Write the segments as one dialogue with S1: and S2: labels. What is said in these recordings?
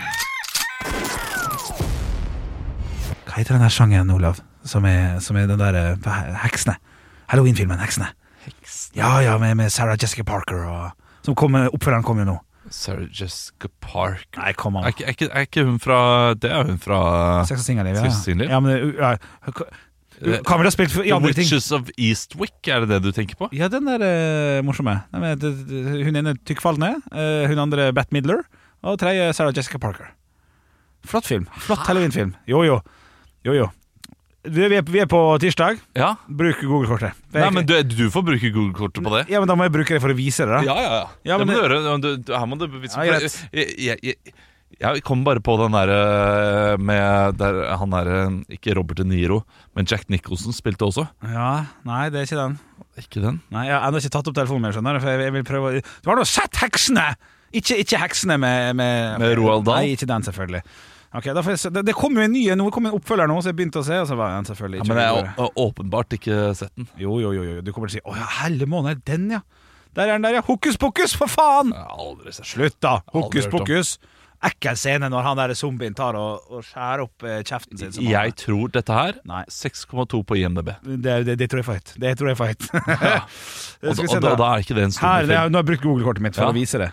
S1: Hva heter den der sangen, Olav? Som er, som er den der eh, Heksene. Halloween-filmen Heksene. Ja, ja, med, med Sarah Jessica Parker og Som kommer, Oppfølgeren kommer jo nå.
S2: Sarah Jessica Park
S1: Nei, kom an.
S2: er ikke, er, ikke, er ikke hun fra Det er hun fra
S1: Ah. Sex og singelliv, ja.
S2: Sex og singelliv?
S1: ja, men, det- ja.
S2: Eh,
S1: Kamera har spilt for- i
S2: The
S1: andre ting.
S2: Witches of Eastwick, er det det du tenker på?
S1: Ja, den der eh, morsomme. Nei, men, det, det, hun ene tykkfallende, eh, hun andre Bat Midler, og tredje Sarah Jessica Parker. Flott film. Flott Halloween-film. Jo, jo. Jo, jo. Du, Vi er, vi er på tirsdag.
S2: Ja
S1: Bruk Google-kortet. Det er
S2: Nei,
S1: ikke-
S2: men du, du får bruke Google-kortet på det.
S1: Ja, men Da må jeg bruke det for å vise det. da
S2: Ja, ja,
S1: Ja,
S2: ja. Det
S1: men
S2: må
S1: det-
S2: du gjøre. Du, du, her må du bevise
S1: Ja,
S2: for jeg, jeg, jeg, jeg kom bare på den der eh, med der Han er en- ikke Robert De Niro, men Jack Nicholson spilte også.
S1: Ja, Nei, det er ikke den.
S2: Ikke den?
S1: Nei, Jeg har ennå ikke tatt opp telefonen min. skjønner du, For jeg, jeg vil prøve å Du har nå sett Heksene! Ikke, ikke Heksene med, med
S2: Med Roald Dahl?
S1: Nei, ikke den, selvfølgelig. Ok, da får jeg, se- det, det kom jo en ny en nå, det kom en oppfølger nå, så jeg begynte å se. Og så var den selvfølgelig
S2: Ja,
S1: ikke
S2: men jeg
S1: videre.
S2: har å- åpenbart ikke sett den.
S1: Jo, jo, jo, jo, du kommer til å si 'Å ja, helle måned, den, ja'. Der er den der, ja. Hokus pokus, for faen!
S2: Jeg har aldri sett den.
S1: Slutt, da. Hokus
S2: Aldri hørt om.
S1: pokus. Ekkel scene når han der zombien tar og, og skjærer opp eh, kjeften sin. som han-
S2: Jeg tror dette her
S1: Nei.
S2: 6,2 på IMDb.
S1: det, det, det tror jeg får høyt. Det tror jeg får høyt.
S2: Og,
S1: Skal
S2: da-
S1: vi se
S2: og da,
S1: da.
S2: da er ikke det en
S1: Her, det er,
S2: storfilm.
S1: nå har jeg brukt Google-kortet mitt for
S2: Ja.
S1: å vise det.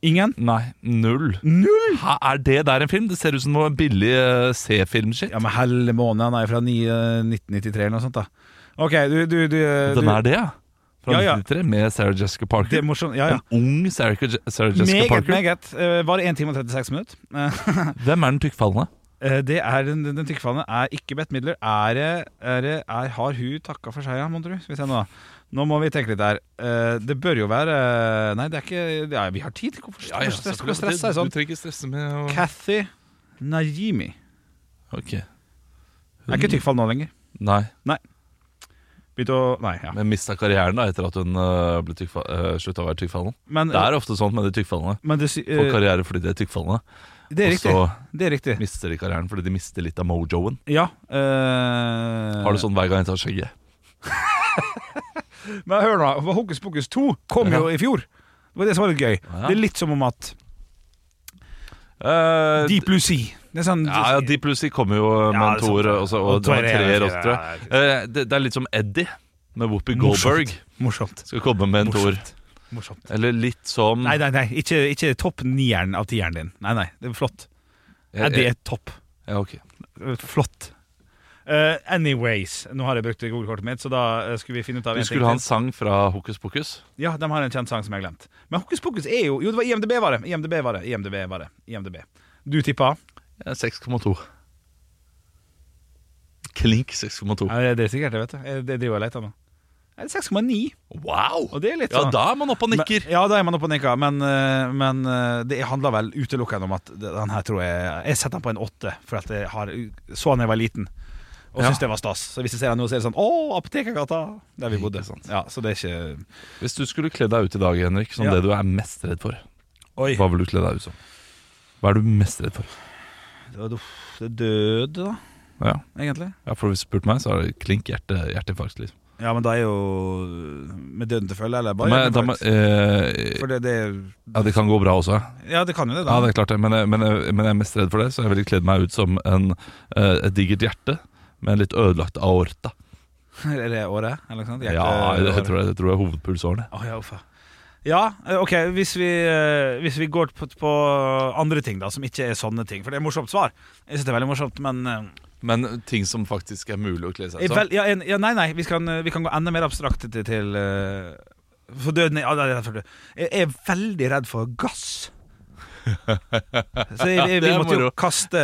S1: Ingen?
S2: Nei, null.
S1: Null!
S2: Hæ, er det der en film? Det ser ut som noe billig eh, C-film-shit.
S1: Ja, men helle måned, han er jo fra ni- eh, 1993 eller noe sånt da. Ok, du, du, du, du
S2: Den er det, ja. Fra
S1: Ja, ja.
S2: 1993, med Sarah Jessica Parker.
S1: Det er morsomt, ja, ja.
S2: En ung Sarah, Sarah Jessica
S1: Meget,
S2: Parker.
S1: meget. Eh, Bare 1 time og 36 minutter.
S2: Hvem er den tykkfallende?
S1: Eh, Det er, den, den tykkefallende er ikke Bett Midler. Er, det- er, det- er, har hun takka for seg, ja, mon tru? Skal vi se nå, da. Nå må vi tenke litt der. Eh, Det bør jo være Nei, det er ikke ja, Vi har tid. Hvorfor ja, ja, skal vi stresse deg sånn?
S2: Du trenger ikke stresse med å
S1: Kathy Najimi.
S2: Ok.
S1: Er ikke tykkfall nå lenger.
S2: Nei,
S1: Begynte å Nei, ja.
S2: men mista karrieren da etter at hun øh, ble tykkfa- øh, slutta å være tykkfallende.
S1: Men,
S2: Det er ofte sånn med de tykkfallende.
S1: men det, sy-
S2: Får
S1: eh,
S2: karriere fordi de er tykkfallende,
S1: det
S2: og
S1: er
S2: så
S1: riktig. Det er riktig.
S2: mister de karrieren fordi de mister litt av mojoen.
S1: Ja. eh,
S2: Har du sånn hver gang jeg tar skjegget?
S1: Men hør nå, for Hokus Pokus 2 kom jo
S2: Ja.
S1: i fjor. Det var det som var litt gøy.
S2: Ja.
S1: Det er litt som om at
S2: Eh,
S1: Deep Blue Sea det er sånn,
S2: ja, ja, Deep Lucy kommer jo øh, med en
S1: Ja, det er sant,
S2: toer
S1: ja.
S2: og, så-
S1: Og
S2: og, og
S1: toer, ja,
S2: treer
S1: ja,
S2: også,
S1: ja,
S2: tror
S1: ja,
S2: jeg.
S1: ja,
S2: Eh, det, det er litt som Eddie med Whoopi
S1: Morsomt.
S2: Goldberg.
S1: Morsomt.
S2: Skal komme med en toer.
S1: Morsomt. Morsomt.
S2: Eller litt som
S1: Nei, nei, nei. Ikke, ikke topp nieren av tieren din. Nei, nei. Det er flott.
S2: Ja,
S1: Nei, det er topp.
S2: ja, ok.
S1: Flott. Eh, anyways, nå har jeg brukt Google-kortet mitt, så da eh, skulle vi finne ut av
S2: Du
S1: en ting
S2: skulle ha en
S1: til.
S2: sang fra Hokus Pokus.
S1: Ja, de har en kjent sang som jeg har glemt. Men Hokus Pokus er jo Jo, det var IMDb, var det. IMDb var det. IMDb var det. IMDb. Du tippa?
S2: Ja, 6,2. Klink 6,2.
S1: Ja, det er sikkert det, vet du. Jeg- Det driver jeg og leter nå. Er det 6,9?
S2: Wow!
S1: Og det er litt
S2: Ja,
S1: sånn
S2: da er man oppe og nikker.
S1: Men, ja, da er man oppe og nikker, men, eh, men eh, det handler vel utelukkende om at den her tror jeg Jeg setter den på en åtte, for at jeg har, så den da jeg var liten. Og
S2: Ja.
S1: syntes det var stas. Så hvis jeg ser den nå, så er det sånn Å, Apotekergata! Der vi bodde. Ja, så det er ikke
S2: Hvis du skulle kledd deg ut i dag, Henrik, som
S1: Ja.
S2: det du er mest redd for,
S1: Oi.
S2: hva vil du kle deg ut som? Hva er du mest redd for?
S1: Det er død, da.
S2: Ja.
S1: egentlig.
S2: Ja, for hvis du spurte meg, så er det klink hjerte, hjerteinfarkt. Liksom.
S1: Ja, men da er jo med døden til følge, eller bare
S2: Men, da, må-
S1: hjerteinfarkt?
S2: eh,
S1: For det, det er
S2: ja, det kan gå bra også.
S1: Ja, det kan jo det, da.
S2: Ja, det er klart det. Men, jeg- men, jeg- men jeg er mest redd for det, så jeg ville kledd meg ut som en, eh, et digert hjerte med en litt ødelagt aorta.
S1: er det året, eller noe sånt?
S2: Ja, det, jeg tror jeg, jeg tror det er hovedpulsåren. jeg.
S1: Å, ja, uffa. Ja, eh, ok, hvis vi, eh, hvis vi går på, på andre ting da, som ikke er sånne ting For det er morsomt svar. Jeg synes det er veldig morsomt, men eh,
S2: Men ting som faktisk er mulig å kle seg
S1: jeg Eh, vel, ja, en, ja, Nei, nei, vi kan, eh, vi kan gå enda mer abstrakt til, til eh, For døden er, ja, det er for død. Jeg er veldig redd for gass. Så jeg, jeg, vi
S2: det er
S1: måtte jo
S2: moro.
S1: kaste,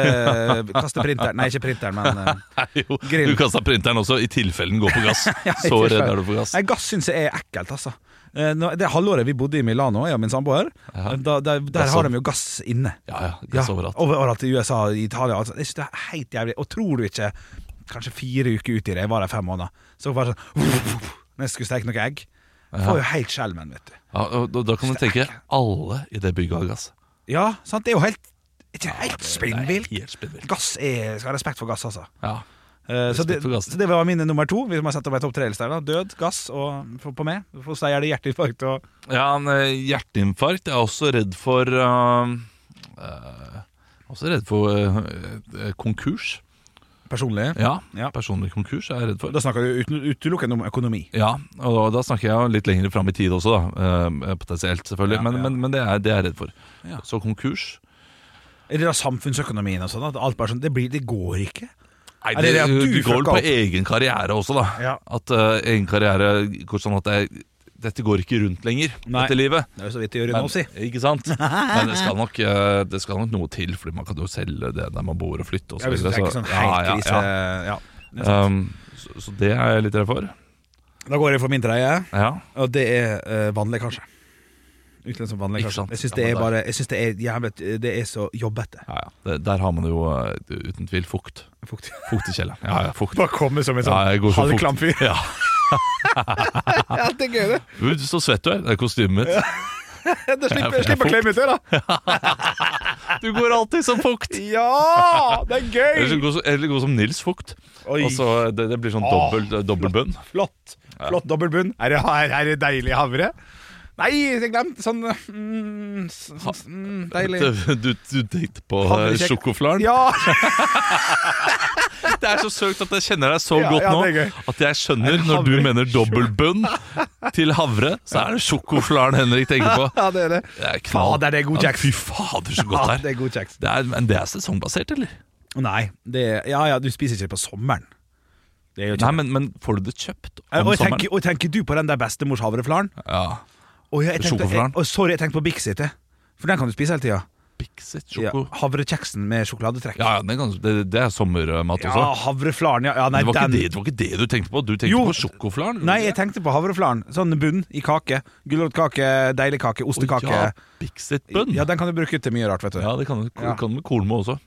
S1: kaste printeren Nei, ikke printeren, men eh,
S2: Jo,
S1: Grill.
S2: du kasta printeren også, i tilfelle den går på gass. Så
S1: ikke
S2: redd
S1: sant.
S2: er du for gass.
S1: Nei, gass syns jeg er ekkelt, altså. Eh, nå- Det halvåret vi bodde i Milano, jeg og min samboer,
S2: Ja. sånn.
S1: da, der, der
S2: Gass
S1: har
S2: over-
S1: de jo gass inne.
S2: Ja, ja, gass
S1: Ja,
S2: overalt.
S1: over- overalt i USA og Italia. Altså. Jeg synes det er helt jævlig. Og tror du ikke, kanskje fire uker ut i det, jeg var der fem måneder, så var det sånn Når jeg skulle steke noen egg. Får jo helt skjelven, vet du.
S2: Ja, og da, da kan du tenke alle i det bygget har gass.
S1: Ja, sant? Det er jo helt ikke helt spinnvilt.
S2: Helt spinnvilt.
S1: Gass er Skal ha respekt for gass, altså.
S2: Ja.
S1: Eh, Så det,
S2: for gass.
S1: så det var mine nummer to. Vi må sette opp ei topp tre-liste. Død, gass og for- på meg. For deg er det hjerteinfarkt og
S2: ja, en eh, hjerteinfarkt. Jeg er også redd for eh, eh, Også redd for eh, eh, konkurs.
S1: personlig.
S2: Ja,
S1: Ja.
S2: personlig konkurs er jeg redd for.
S1: Da snakker du uten- utelukkende om økonomi.
S2: Ja, og da, da snakker jeg jo litt lenger fram i tid også, da. eh, Potensielt, selvfølgelig.
S1: Ja,
S2: men,
S1: ja.
S2: men, men det, er, det er jeg redd for.
S1: Ja.
S2: Så konkurs
S1: Er det da samfunnsøkonomien og sånn? At alt bare sånn Det, blir, det går ikke.
S2: Nei,
S1: Er det det at du
S2: du går vel
S1: fucka
S2: på
S1: opp?
S2: egen karriere også, da.
S1: Ja.
S2: At eh, egen karriere går sånn at det, dette går ikke rundt lenger,
S1: Nei.
S2: dette livet.
S1: Det er jo så vidt det gjør i
S2: Men,
S1: nå, si.
S2: ikke sant? Men det skal, nok, eh, det skal nok noe til, Fordi man kan jo selge det der man bor og flytte og
S1: Ja,
S2: så
S1: hvis du
S2: videre.
S1: tenker
S2: så-
S1: sånn helt
S2: ja,
S1: krise
S2: ja,
S1: ja.
S2: ja. Um, så, så det er jeg litt redd for.
S1: Da går jeg for min tredje,
S2: Ja.
S1: og det er eh, vanlig, kanskje. Utenlands som vanlig,
S2: Ikke
S1: kanskje.
S2: sant.
S1: Jeg syns
S2: Ja,
S1: det
S2: men
S1: er
S2: da-
S1: bare Jeg synes det er jævlig Det er så jobbete.
S2: Ja, ja. Det, der har man jo eh, uten tvil fukt.
S1: Fukt.
S2: Fukt i kjelleren. Ja, ja, fukt.
S1: Bare komme som en
S2: Ja, jeg går
S1: sånn
S2: så
S1: halvklam fyr.
S2: fort. Ja.
S1: Ja, det er gøy, det.
S2: Du, Så svett du er. Det er kostymet mitt.
S1: Ja, da
S2: Ja, for
S1: slipper
S2: det er
S1: slipper å klemme ut det, da.
S2: Du går alltid som fukt.
S1: Ja! Det er
S2: Eller så
S1: gøy!
S2: gå som- eller gå som Nils Fukt.
S1: Oi,
S2: Og så det, det blir sånn
S1: Åh,
S2: dobbelt, dobbeltbunn.
S1: flott. Flott dobbel bunn. Er det, er, er det deilig havre? Nei, jeg glemte sånn mm, s- s- mm, Deilig.
S2: Du, du tenkte på eh,
S1: Havrekjeks.
S2: sjokoflaren.
S1: Ja!
S2: Det er så søkt at jeg kjenner deg så
S1: Ja,
S2: godt
S1: ja, det er
S2: nå at jeg skjønner når du mener dobbeltbunn til havre, så er det sjokoflaren Henrik tenker på.
S1: ja, det er det.
S2: Det er knall.
S1: Fader, det er god
S2: Ja,
S1: kjeks.
S2: Fy fader, så
S1: Ja,
S2: godt
S1: det
S2: det er.
S1: er god kjeks.
S2: Det er, men det er sesongbasert, eller?
S1: Nei, det, ja, ja, du spiser ikke det på sommeren. Det gjør ikke
S2: Nei,
S1: det.
S2: men, men får du det kjøpt om
S1: Eh, og, jeg
S2: sommeren?
S1: tenker, og tenker du på den der bestemors havreflaren?
S2: Ja.
S1: Og jeg, jeg tenkte, jeg,
S2: Sjokoflaren.
S1: og sorry, jeg tenkte på Bixit, jeg. for den kan du spise hele tida.
S2: Bixit
S1: Ja,
S2: sjoko. Ja,
S1: havrekjeksen med sjokoladetrekk.
S2: ja, det, er ganske- det, det er sommermat
S1: Ja,
S2: også.
S1: havreflaren, ja. ja nei,
S2: det, var ikke
S1: den,
S2: det, det var ikke det du tenkte på. Du tenkte
S1: Jo.
S2: på sjokoflaren.
S1: nei, jeg tenkte på havreflaren. Sånn bunn i kake. Gulrotkake, deilig kake, ostekake.
S2: Ja,
S1: Ja.
S2: Bixit-bønn.
S1: den kan du bruke til mye rart, vet du.
S2: Ja, det kan, kan,
S1: Ja.
S2: kan med kolmo også.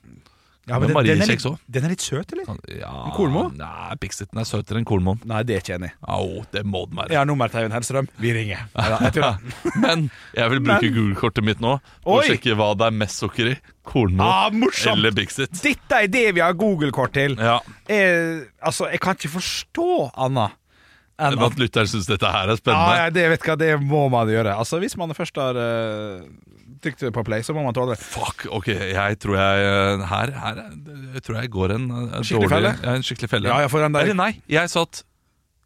S1: Ja,
S2: men
S1: den, den, er
S2: mariekjeks
S1: litt,
S2: også. Sånn,
S1: den er litt søt, eller?
S2: Ja,
S1: kolmo?
S2: Ah, Nei, Bixiten er søtere enn kolmoen.
S1: Nei, det er ikke enig.
S2: Au, det må den være.
S1: Jeg har nummer til Øyvind Hellstrøm. Vi ringer. Neida, jeg tuller.
S2: Men jeg vil bruke gulkortet mitt nå og
S1: Oi!
S2: sjekke hva det er mest sukker i. Kornmo
S1: Ah, morsomt!
S2: eller Bixit.
S1: Dette er det vi har Google-kort til.
S2: Ja,
S1: jeg, altså, jeg kan ikke forstå annet enn
S2: men
S1: at
S2: At lytteren syns dette her er
S1: ja, ja,
S2: spennende.
S1: det, vet du hva, det må man gjøre. Altså, Hvis man først har eh, trykt på play, så må man tåle det.
S2: Fuck, ok, jeg tror jeg eh, Her, her er- jeg tror jeg går en, eh,
S1: Skikkelig
S2: dårlig
S1: felle?
S2: Ja, en skikkelig felle.
S1: Ja, ja, for den der-
S2: Eller nei, jeg sa at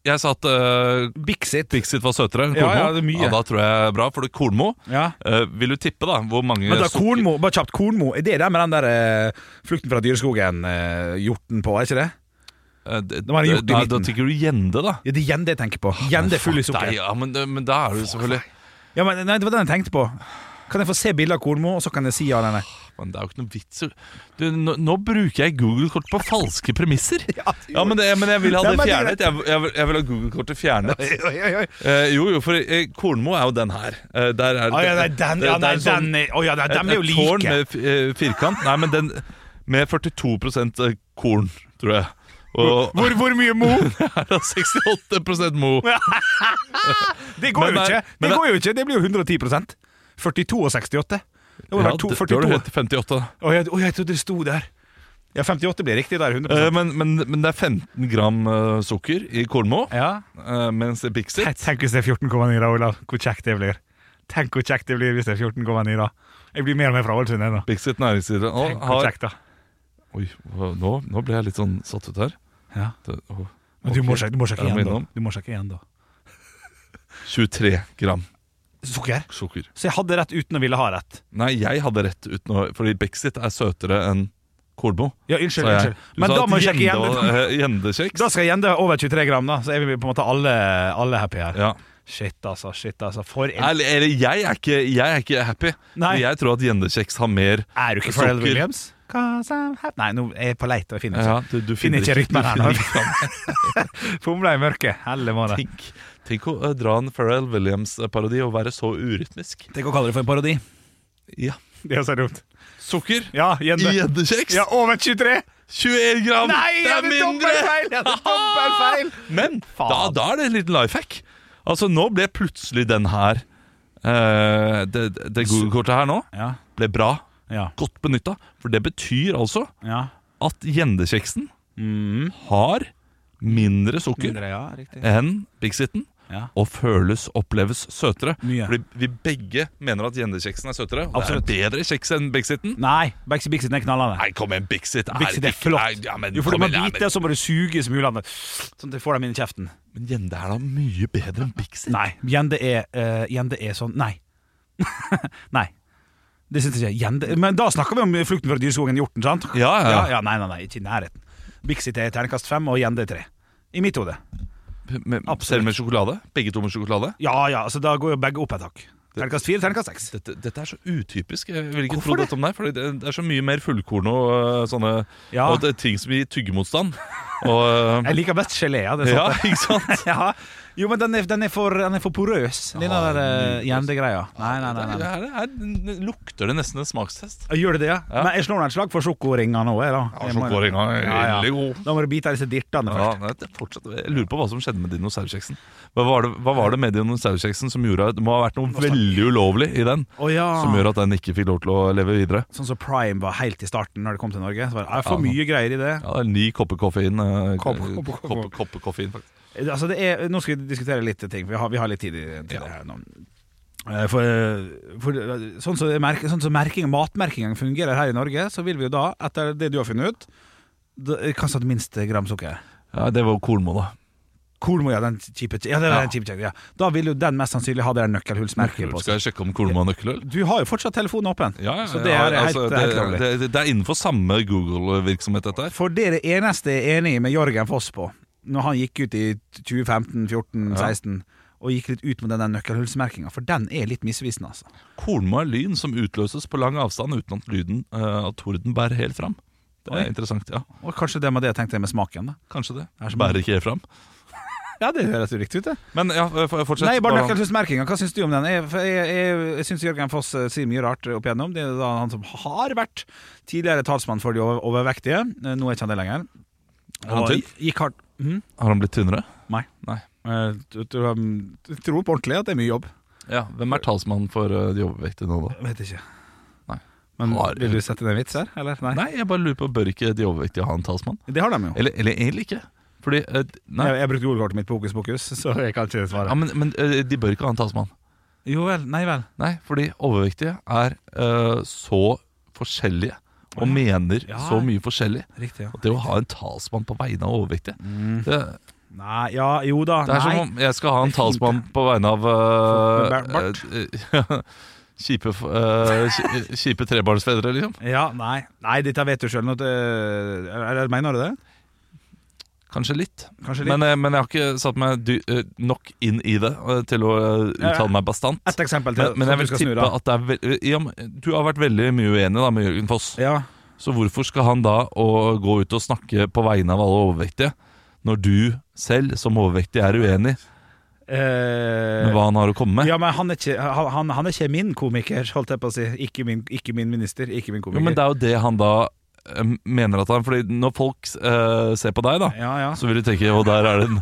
S2: Jeg sa at eh,
S1: Bixit.
S2: Bixit var søtere enn
S1: Ja,
S2: Kornmo.
S1: ja, det er mye.
S2: da tror jeg bra, for det er Kornmo.
S1: Ja.
S2: Eh, vil du tippe, da, hvor mange
S1: Men da,
S2: sukker-
S1: kornmo, bare kjapt, kornmo, er det der med den der eh, flukten fra dyreskogen eh, hjorten på, er ikke det?
S2: Eh, det-
S1: var det gjort i
S2: nei, Da
S1: midten.
S2: tenker du gjende, da.
S1: Ja, Det er gjende jeg tenker på. Gjende full i
S2: Ah, Fuck deg,
S1: sukker.
S2: Ja, men, men da er du selvfølgelig
S1: Ja, men nei, Det var den jeg tenkte på. Kan jeg få se bilde av kornmo, og så kan jeg si ja eller nei?
S2: Men det er jo ikke noe vits i- du, nå, nå bruker jeg Google-kort på falske premisser. Ja, men, det, men jeg vil ha
S1: Ja,
S2: det
S1: men det er
S2: fjernet. Jeg, jeg, vil- jeg vil ha Google-kortet fjernet.
S1: Oi, oi, oi.
S2: Eh, jo, jo, for eh, Kornmo er jo den her. Eh, der er,
S1: Å Ah, ja, nei,
S2: det-
S1: den, ja,
S2: det
S1: nei,
S2: er sånn-
S1: den er, å, ja, nei, dem er jo
S2: et Tårn
S1: like.
S2: med fi- eh, firkant. Nei, men den med 42 korn, tror jeg. Og
S1: Hvor, hvor mye mo?
S2: her er 68 mo.
S1: Det
S2: Men det er- men
S1: går jo ikke! Det
S2: det-
S1: går jo ikke, det blir jo 110 42 og 68. Det må
S2: Ja,
S1: være to-
S2: det- da har du
S1: 42.
S2: helt til 58. da.
S1: Å, jeg, å, jeg trodde det sto der. Ja, 58 blir riktig der. 100
S2: Eh, men, men, men det er 15 gram eh, sukker i kornmo,
S1: Ja.
S2: eh, mens i Pixit
S1: Tenk hvis det er 14,9, da, Olav. Hvor kjekt det blir. Tenk hvor kjekt det blir hvis det er 14,9, da. Jeg blir mer og mer fra Ålesund ennå.
S2: Pixit næringsside nå
S1: Tenk hvor
S2: har
S1: kjekt, da.
S2: Oi, hva- nå, nå ble jeg litt sånn satt ut her.
S1: Ja.
S2: Det, åh,
S1: Men du må
S2: ok.
S1: sjekke, du må sjekke
S2: Jeg må
S1: igjen, da.
S2: innom.
S1: Du må sjekke igjen, da.
S2: 23 gram
S1: Sukker?
S2: sukker.
S1: Så jeg hadde rett uten å ville ha rett.
S2: Nei, jeg hadde rett uten å Fordi Bexit er søtere enn kornmo.
S1: Ja, unnskyld.
S2: sa jeg.
S1: unnskyld.
S2: Du
S1: Men
S2: sa
S1: da
S2: at
S1: må jeg sjekke igjen.
S2: gjende-
S1: Da-
S2: eh, Gjendekjeks.
S1: Da skal jeg gjende over 23 gram, da. Så er vi på en måte alle, alle happy her.
S2: Ja.
S1: Shit, altså. Shit, altså. For en
S2: Eller, eller jeg, er ikke, jeg er ikke happy.
S1: Nei.
S2: Jeg tror at gjendekjeks har mer
S1: Er du ikke
S2: Sukker.
S1: Pharrell Williams? 'Cause I'm happy- Nei, nå er jeg på leit og finner ikke.
S2: ja, du, du
S1: Finner ikke
S2: du
S1: rytmen her,
S2: finner
S1: nei.
S2: ikke fram.
S1: Fomla i mørket. Helle måned.
S2: Tenk, tenk å eh, dra en Pharrell Williams-parodi og være så urytmisk.
S1: Tenk å kalle det for en parodi.
S2: Ja.
S1: Det er så dumt.
S2: Sukker
S1: Ja,
S2: i
S1: gjende.
S2: gjendekjeks.
S1: Ja, over 23!
S2: 21 gram!
S1: Nei,
S2: det
S1: jeg
S2: er
S1: hadde
S2: mindre! Ah!
S1: dobbeltfeil! Jeg hadde dobbeltfeil!
S2: Men
S1: Faen.
S2: da, da er det en liten life hack. Altså, nå ble plutselig den her eh, Det, det Google-kortet her nå
S1: Ja,
S2: ble bra.
S1: ja,
S2: Godt benytta. For det betyr altså
S1: ja.
S2: at gjendekjeksen har mindre sukker
S1: Mm. Mindre, ja, riktig.
S2: enn Bixiten.
S1: Ja.
S2: Og føles, oppleves søtere.
S1: Mye.
S2: Fordi vi begge mener at gjendekjeksen er søtere. Og
S1: Absolutt.
S2: det er bedre kjeks enn Bixiten.
S1: Nei, Bixi Bixiten er knallende.
S2: Nei, kom igjen, Bixit. er
S1: Bixit er
S2: ikke- Nei,
S1: flott.
S2: Ja, men,
S1: Du får
S2: kom
S1: dem å
S2: igjen, ja,
S1: bite, og så må du suge smulene. Sånn at du får dem inn i kjeften.
S2: Men, men gjende er da mye bedre enn Bixit.
S1: Nei. Gjende er, eh, gjende er sånn Nei. nei. Det syns jeg ikke. Gjende Men da snakker vi om flukten fra dyreskogen, hjorten, sant?
S2: Ja, ja, ja.
S1: ja, Nei, nei, nei, ikke i nærheten. Bixit er terningkast fem, og gjende er tre. I mitt hode.
S2: Med,
S1: Absolutt.
S2: selv med sjokolade? Begge to med sjokolade?
S1: Ja ja, så da går jo begge opp et hakk. Terningkast fire, terningkast seks.
S2: Dette, dette er så utypisk. Jeg vil ikke
S1: Hvorfor
S2: tro dette om deg. Fordi det, det er så mye mer fullkorn og øh, sånne
S1: Ja.
S2: Og det, er ting som gir tyggemotstand. Og, øh,
S1: Jeg liker best gelé, ja. Det er
S2: ja,
S1: sant.
S2: ikke sant?
S1: Ja. Jo, men den er, den er, for, den er for porøs, den der eh, gjendegreia. Nei, nei, nei. nei.
S2: Her, her lukter det nesten en smakstest.
S1: Gjør det det, ja? Men jeg slår nå et slag for sjokoringa nå. Jeg, da. Jeg må-
S2: Sjokoringa er
S1: Ja, ja.
S2: veldig god.
S1: Da må du bite av disse dirtene
S2: Ja,
S1: først.
S2: nei, det fortsatt, jeg lurer på hva som skjedde med dinosaurkjeksen. Hva var det, hva var det med dinosaurkjeksen som gjorde at det må ha vært noe veldig ulovlig i den?
S1: Å ja.
S2: Som gjør at den ikke fikk lov til å leve videre?
S1: Sånn som Prime var helt i starten når det kom til Norge. Så var det, er for
S2: Ja.
S1: mye greier i det.
S2: Ja, det er Ni kopper koffein. øh,
S1: Kopp- kopp- kopp-
S2: kopp- kopp- koffein, faktisk.
S1: Altså, det er, nå skal vi diskutere litt ting, for vi har, vi har litt tid i- til det her nå. Eh, For, for sånn som merk- sånn som merking, matmerkingen fungerer her i Norge, så vil vi jo da, etter det du har funnet ut da- eh, Hva sa du minst gram sukker?
S2: Ja, det var Kornmo, da.
S1: Kolmo, ja, den kjipe ja, det er
S2: Ja.
S1: den kjipe kjekken, ja. Da vil jo den mest sannsynlig ha det der nøkkelhullsmerket på
S2: Skal
S1: seg.
S2: jeg sjekke om Kolmo har nøkkelhull?
S1: Du har jo fortsatt telefonen åpen, så det
S2: ja,
S1: er helt,
S2: altså,
S1: helt lovlig.
S2: det, det, det er innenfor samme Google-virksomhet, dette her.
S1: For det er det eneste jeg er enig med Jørgen Foss på, når han gikk ut i 2015, 14, 16 og gikk litt ut med den der nøkkelhullsmerkinga, for den er litt misvisende, altså.
S2: Kornmo er lyn som utløses på lang avstand uten at lyden eh, av torden bærer helt fram. Det er interessant, ja.
S1: Og kanskje det var det jeg tenkte med smaken, da.
S2: Kanskje det.
S1: er som-
S2: Bærer ikke helt fram.
S1: Ja, det høres jo riktig ut, det.
S2: Men ja, f- f- fortsett.
S1: Nei, bare
S2: Hvordan-
S1: nøkkelhullsmerkinga. Hva syns du om den? Jeg, for jeg, jeg, jeg syns Jørgen Foss eh, sier mye rart opp igjennom. Det er da han som har vært tidligere talsmann for de over- overvektige. Eh, Nå er ikke han det lenger.
S2: Er han
S1: Og
S2: tynn?
S1: Gikk hardt Mhm.
S2: Har han blitt tynnere?
S1: Nei.
S2: Nei.
S1: Eh, du- du, um, du tror på ordentlig at det er mye jobb.
S2: Ja, Hvem er talsmann for eh, de overvektige nå, da?
S1: Vet ikke.
S2: Nei.
S1: Men
S2: Har-
S1: Vil du sette inn en vits her, eller? Nei.
S2: Nei, jeg bare lurer på, Bør ikke de overvektige ha en talsmann?
S1: Det har de jo.
S2: Eller, eller egentlig ikke. Fordi eh, Nei.
S1: Jeg, jeg brukte ordkortet mitt på hokus pokus, så jeg kan ikke svare.
S2: Ja, men, men eh, de bør ikke ha en talsmann.
S1: Jo vel, nei vel.
S2: Nei, fordi overvektige er eh, så forskjellige og mener
S1: Ja.
S2: så mye forskjellig.
S1: Riktig, ja.
S2: At det å ha en talsmann på vegne av overvektige det,
S1: Nei, ja, jo da.
S2: det er
S1: nei.
S2: som om jeg skal ha en
S1: Det er fint,
S2: talsmann på vegne av eh,
S1: Folk med bart.
S2: eh, Kjipe, f- eh, kji- kjipe trebarnsfedre, liksom.
S1: Ja, nei. nei, dette vet du sjøl. Eller mener du det?
S2: Kanskje litt.
S1: Kanskje litt.
S2: Men, eh, men jeg har ikke satt meg dy eh, nok inn i det eh, til å eh,
S1: Ja, ja.
S2: uttale meg bastant.
S1: Et eksempel til.
S2: Men, men jeg
S1: som du
S2: vil
S1: skal snu,
S2: tippe
S1: da.
S2: at det er eh, vel- i og med- Du har vært veldig mye uenig da med Jørgen Foss.
S1: Ja.
S2: Så hvorfor skal han da å gå ut og snakke på vegne av alle overvektige, når du selv som overvektig er uenig
S1: Eh,
S2: med hva han har å komme med?
S1: ja, men han er, ikke, han, han- han er ikke min komiker, holdt jeg på å si. Ikke min, ikke min minister, ikke min
S2: Jo, men
S1: komiker.
S2: det er jo det han da eh, mener at han Fordi når folk eh, ser på deg, da
S1: Ja, ja.
S2: så vil de tenke å, der er den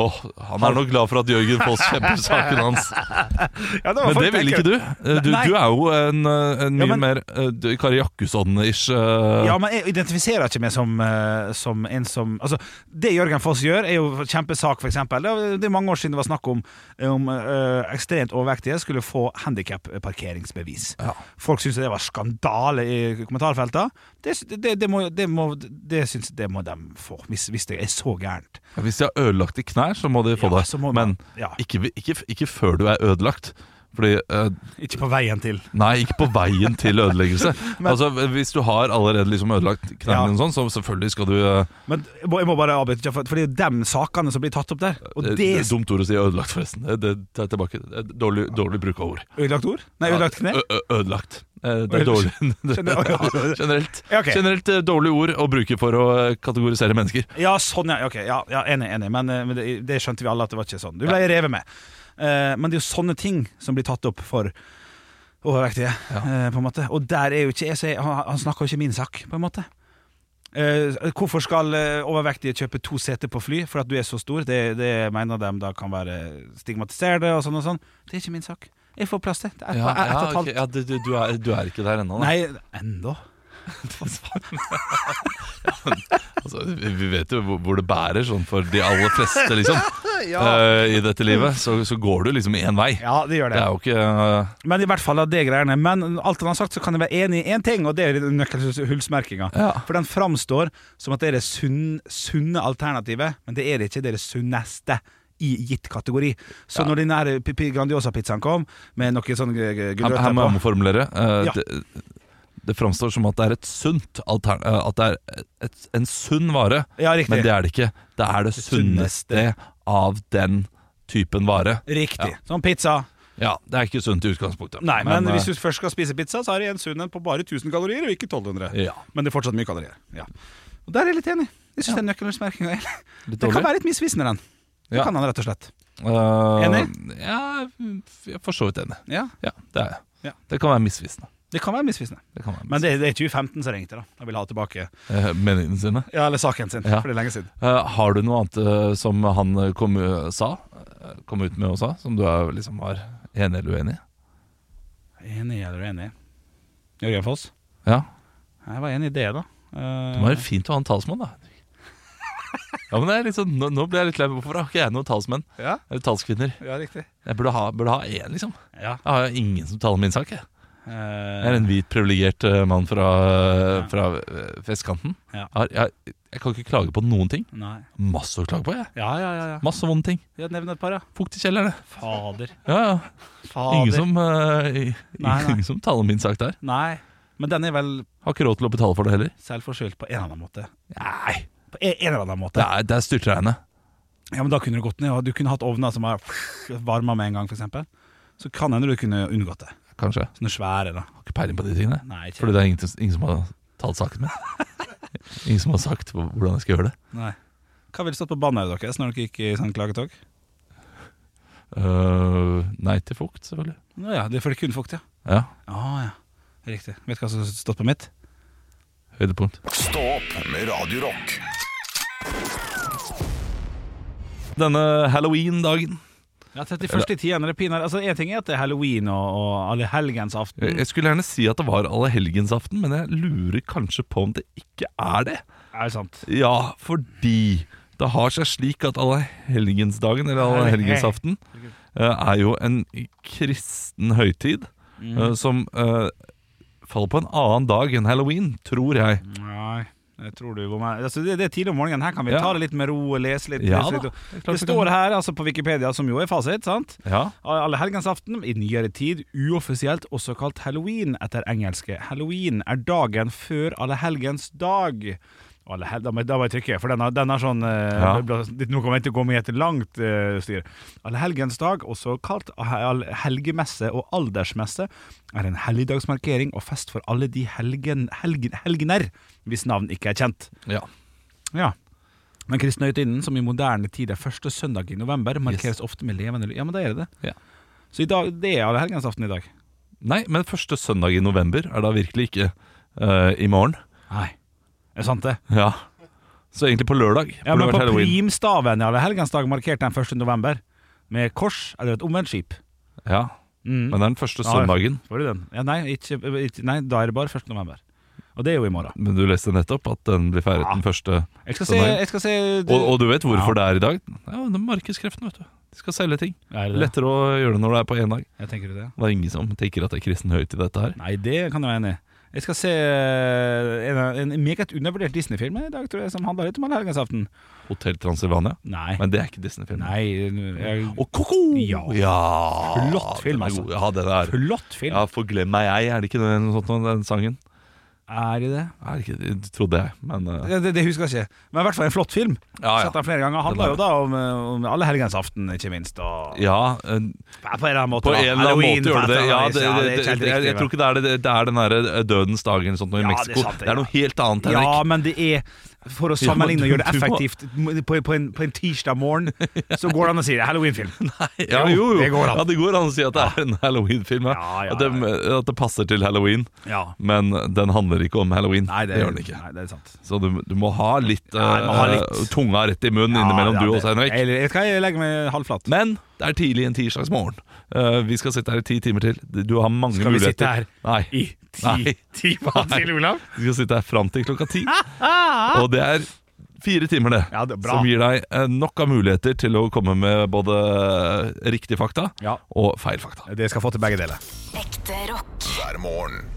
S2: Åh, han er nok glad for at Jørgen Foss kjemper saken hans.
S1: Ja,
S2: Men
S1: faktisk
S2: det vil ikke
S1: ekkelt.
S2: du. Eh, Du,
S1: Nei.
S2: du er jo en, eh, en mye
S1: Ja, men-
S2: mer eh, du- Kari Jakkusson-ish. eh,
S1: Ja, men jeg identifiserer ikke meg som, eh, som en som Altså, det Jørgen Foss gjør, er jo kjempesak, for eksempel. Det er- Det er mange år siden det var snakk om om eh, ekstremt overvektige skulle få handikap-parkeringsbevis. Folk syntes det var skandale i kommentarfeltene. Det, sy- det, det, må, det, må, det syns det må de få, hvis, hvis det er så gærent.
S2: Hvis de har ødelagte knær, så må de få
S1: Ja,
S2: det.
S1: så må man-
S2: Men
S1: ja.
S2: ikke, ikke, ikke før du er ødelagt. Fordi eh,
S1: Ikke på veien til.
S2: Nei, ikke på veien til ødeleggelse. altså, Hvis du har allerede liksom ødelagt knærne
S1: Ja.
S2: dine, sånn, så selvfølgelig skal du eh,
S1: Men jeg må, jeg må bare avbryte, for, for det er jo de sakene som blir tatt opp der. Og
S2: eh,
S1: det er
S2: Dumt ord å si ødelagt, forresten. Eh, Det tar jeg tilbake. Eh, Dårlig, dårlig bruk av ord.
S1: ødelagt ord? Nei, ødelagt kne?
S2: Ø- ø- Ødelagt. Eh, Det er dårlig Generelt,
S1: Ja, ok.
S2: generelt eh, dårlige ord å bruke for å eh, kategorisere mennesker.
S1: Ja, sånn, ja. Ok, ja, ja enig, enig. Men, eh, men det, det skjønte vi alle at det var ikke sånn. Du ble revet med. Eh, men det er jo sånne ting som blir tatt opp for overvektige, eh, på en måte. Og der er jo ikke jeg, så jeg han, han snakker jo ikke min sak, på en måte. Eh, hvorfor skal eh, overvektige kjøpe to seter på fly for at du er så stor? Det, det mener de da kan være stigmatiserende og sånn og sånn. Det er ikke min sak. Jeg får plass til. Det er ett
S2: Ja,
S1: og ett
S2: ja,
S1: og et
S2: ok.
S1: halvt.
S2: ja, du, du, du, er, du er ikke der ennå, da.
S1: Nei, enda.
S2: Altså, vi- vi vet jo hvor- hvor det bærer, sånn for de aller fleste, liksom. eh, I dette livet. Så, så går du liksom én vei.
S1: Ja, det gjør
S2: Det
S1: det.
S2: er jo ikke eh,
S1: Men i hvert fall av det greiene Men alt han har sagt så kan jeg være enig i en ting Og det er nøkkelhullsmerkinga
S2: Ja.
S1: For den framstår som at det er det sunn, sunne alternativet Men det er det ikke, det er det sunneste i gitt kategori Så når de nære pi- pi- Grandiosa-pizzaen kom Med noen sånn, eh, sånne gr- gr-
S2: Her, her
S1: gulrøtter
S2: må jeg
S1: på
S2: omformulere. Eh,
S1: Ja.
S2: det, det framstår som at det er et sunt altern... eh, At det er et, en sunn vare,
S1: Ja, riktig.
S2: men det er det ikke. Det er det
S1: sunneste.
S2: sunneste av den typen vare.
S1: Riktig,
S2: Ja.
S1: sånn pizza
S2: Ja, det er ikke sunt i utgangspunktet.
S1: Nei, men,
S2: eh,
S1: hvis du først skal spise pizza Så er det en sunn en på bare 1000 kalorier og ikke 1200
S2: eh, Ja.
S1: Men det er fortsatt mye kalorier ja. Og der er jeg litt enig Jeg synes den nøkkelhullsmerkinga er-
S2: Litt
S1: Det kan
S2: dårlig.
S1: være litt misvisende den Det
S2: Ja.
S1: kan han rett og slett
S2: Eh,
S1: Enig?
S2: Ja, jeg er for så vidt enig.
S1: Ja,
S2: Ja, det er jeg.
S1: Ja.
S2: Det kan være misvisende.
S1: det kan være misvisende
S2: Det kan være
S1: Men det, det er 2015 som ringte, da. Jeg vil ha tilbake
S2: misvisende. Eh, Meningene sine.
S1: Ja, eller saken sin,
S2: Ja.
S1: for det er lenge siden.
S2: Eh, har du noe annet eh, som han eh, kom, eh, sa, eh, kom ut med og sa, som du er, liksom var enig eller uenig i?
S1: Enig eller uenig? Jørgen Foss?
S2: Ja.
S1: Jeg var enig i det, da. Eh,
S2: Det må være fint å ha en talsmann, da. Ja, men det er litt sånn, nå, nå ble jeg litt lei meg. Hvorfor har ikke jeg noen talsmenn?
S1: Eh, Ja.
S2: Eller talskvinner?
S1: ja, riktig.
S2: Jeg burde ha, burde ha én, liksom.
S1: Ja.
S2: Jeg har jo ingen som taler min sak. Jeg, jeg
S1: Eh,
S2: er en hvit, privilegert eh, mann fra, eh, fra eh, festkanten.
S1: Ja.
S2: Jeg, har- jeg, jeg kan ikke klage på noen ting.
S1: Nei.
S2: Masse å klage på, jeg.
S1: Ja, ja, ja. ja.
S2: Masse vonde ting.
S1: Vi har nevnt et par, ja.
S2: Fukt i kjelleren. det.
S1: Fader.
S2: Ja, ja.
S1: Fader.
S2: Ingen som, eh,
S1: Nei, nei.
S2: ingen som taler min sak der.
S1: Nei. Men den er vel
S2: Har ikke råd til å betale for det heller.
S1: selvforskyldt på en eller annen måte.
S2: Nei,
S1: På en, en eller annen
S2: det
S1: måte.
S2: er, det er styrtregnet.
S1: Ja, men da kunne du gått ned. og Du kunne hatt ovner som har varma med en gang, for eksempel Så kan hende du kunne unngått det.
S2: Kanskje. Jeg
S1: Sånne svære, da.
S2: Har ikke peiling på de tingene.
S1: Nei, ikke
S2: Fordi det er ingen, ingen som har talt saken min. Ingen som har sagt hvor- hvordan jeg skal gjøre det.
S1: Nei. Hva ville stått på banneret deres når dere gikk i sånn klagetog?
S2: Øh, nei til fukt, selvfølgelig.
S1: Nå ja, det er fordi det kun fukt, ja.
S2: Ja,
S1: Ah, ja. Riktig. Vet du hva som har stått på mitt?
S2: høydepunkt.
S3: Stå opp med Radio Rock.
S2: Denne halloween-dagen.
S1: Ja, 31. i tiende, det piner. Altså, en ting er at det er halloween og, og alle helgens
S2: Jeg,
S1: aften.
S2: jeg skulle gjerne si at det var allehelgensaften, men jeg lurer kanskje på om det ikke er det.
S1: Er det sant?
S2: Ja, fordi det har seg slik at allehelgensdagen, eller allehelgensaften, eh, er jo en kristen høytid
S1: Mhm.
S2: eh, som eh, faller på en annen dag enn halloween, tror jeg.
S1: Mhm. Nei. Jeg tror du hvor meg- altså, det, det er tidlig om morgenen. Her kan vi
S2: Ja.
S1: ta det litt med ro og lese litt.
S2: Ja
S1: lese
S2: da,
S1: litt.
S2: det er klart
S1: Det
S2: vi
S1: står her altså, på Wikipedia, som jo er fasit, sant?
S2: Ja.
S1: Alle helgensaften, i nyere tid uoffisielt også kalt halloween etter engelske. Halloween er dagen før allehelgens dag. Alle hel da, må, da må jeg trykke, for den har, den har sånn eh,
S2: Ja.
S1: bla- bla- Nå kommer jeg til å gå med et langt eh, styr. Allehelgens dag, også kalt all- helgemesse og aldersmesse, er en helligdagsmarkering og fest for alle de helgen, helgen, helgener hvis navn ikke er kjent.
S2: ja.
S1: Ja. Men kristne høytiden, som i moderne tid er første søndag i november, markeres ofte med levende ly- Ja, men da er det det.
S2: Ja.
S1: Så i dag, det er allehelgensaften i dag.
S2: Nei, men første søndag i november er da virkelig ikke eh, i morgen.
S1: Nei. Er sant det?
S2: Ja. Så egentlig på lørdag. På
S1: Ja, men
S2: lørdag
S1: på
S2: halloween.
S1: primstaven, ja. Det er helgensdag markert den 1. november. Med kors eller et omvendt skip.
S2: Ja.
S1: Mhm.
S2: Men det er den første søndagen.
S1: Får du den? Ja, nei, ikke, ikke, nei, da er det bare 1. november. Og det er jo i morgen.
S2: Men du leste nettopp at den blir feiret den første
S1: Jeg skal se,
S2: søndagen.
S1: jeg skal se
S2: Og, og du vet hvorfor det er i dag? Ja, det er markedskreftene, vet du. De skal selge ting.
S1: Er det det?
S2: Lettere å gjøre det når det er på én dag.
S1: Jeg tenker det.
S2: Det er ingen som tenker at det er kristen høyt i dette her.
S1: Nei, det kan jeg være enig i. Jeg skal se en, en meget undervurdert Disney-film i dag, tror jeg, som handler litt om helgensaften.
S2: Hotell Transilvania.
S1: Nei.
S2: Men det er ikke Disney-film.
S1: Nei jeg,
S2: Og ko-ko!
S1: Ja. Flott film,
S2: den er
S1: altså.
S2: god. Ja, den er
S1: Flott film.
S2: Ja, for glem meg jeg, er det ikke den, sånn, noe, den sangen?
S1: Er det det?
S2: Er det ikke det? det Trodde jeg, men eh,
S1: Det, det, det husker jeg ikke. Men i hvert fall en flott film.
S2: Ja, ja.
S1: Sett den flere ganger.
S2: Den
S1: Handler
S2: er-
S1: jo da om, eh, om alle helgensaften, ikke minst. Og
S2: Ja, eh,
S1: Ja, på en eller annen måte.
S2: på
S1: da.
S2: en eller annen
S1: Halloween,
S2: måte gjør det det.
S1: på et
S2: Ja,
S1: eller annet
S2: det,
S1: vis.
S2: det, det,
S1: Ja, er ikke helt
S2: jeg,
S1: riktig,
S2: jeg tror ikke det er, det, det er den derre dødens dag eller noe sånt noe i
S1: Ja, det er
S2: Mexico.
S1: sant, det,
S2: Det er noe
S1: ja.
S2: helt annet,
S1: men- Ja,
S2: Henrik.
S1: men det er For å
S2: Ja, men
S1: sammenligne
S2: du-
S1: og gjøre
S2: du
S1: det
S2: må-
S1: effektivt på, på, en, på en tirsdag morgen, så går det an å si det. Halloween-film.
S2: Ja, jo, jo.
S1: Det går an.
S2: Ja, det går an å si at det er en halloween-film. Ja.
S1: Ja, ja,
S2: At, det, at det passer til halloween,
S1: Ja.
S2: men den handler ikke om halloween.
S1: Nei, det,
S2: gjør den ikke.
S1: Nei, det er sant.
S2: Så du, du må ha litt,
S1: Ja, jeg må ha
S2: eh,
S1: litt.
S2: tunga rett i munnen innimellom,
S1: Ja,
S2: du
S1: ja,
S2: også,
S1: det-
S2: Henrik.
S1: Jeg, jeg, skal- jeg legger meg halvflat.
S2: Men det er tidlig en tirsdagsmorgen. Uh, vi skal sitte her i ti timer til. Du har mange
S1: Skal vi
S2: muligheter.
S1: sitte her
S2: Nei.
S1: I ti
S2: Nei.
S1: timer
S2: Nei.
S1: til, Olav?
S2: Vi skal sitte her fram til klokka ti. Og det er fire timer, det.
S1: Ja, det er bra.
S2: som gir deg eh, nok av muligheter til å komme med både riktige fakta
S1: Ja.
S2: og feil fakta.
S1: Det skal få til begge deler.
S4: Ekte rock.
S3: hver morgen.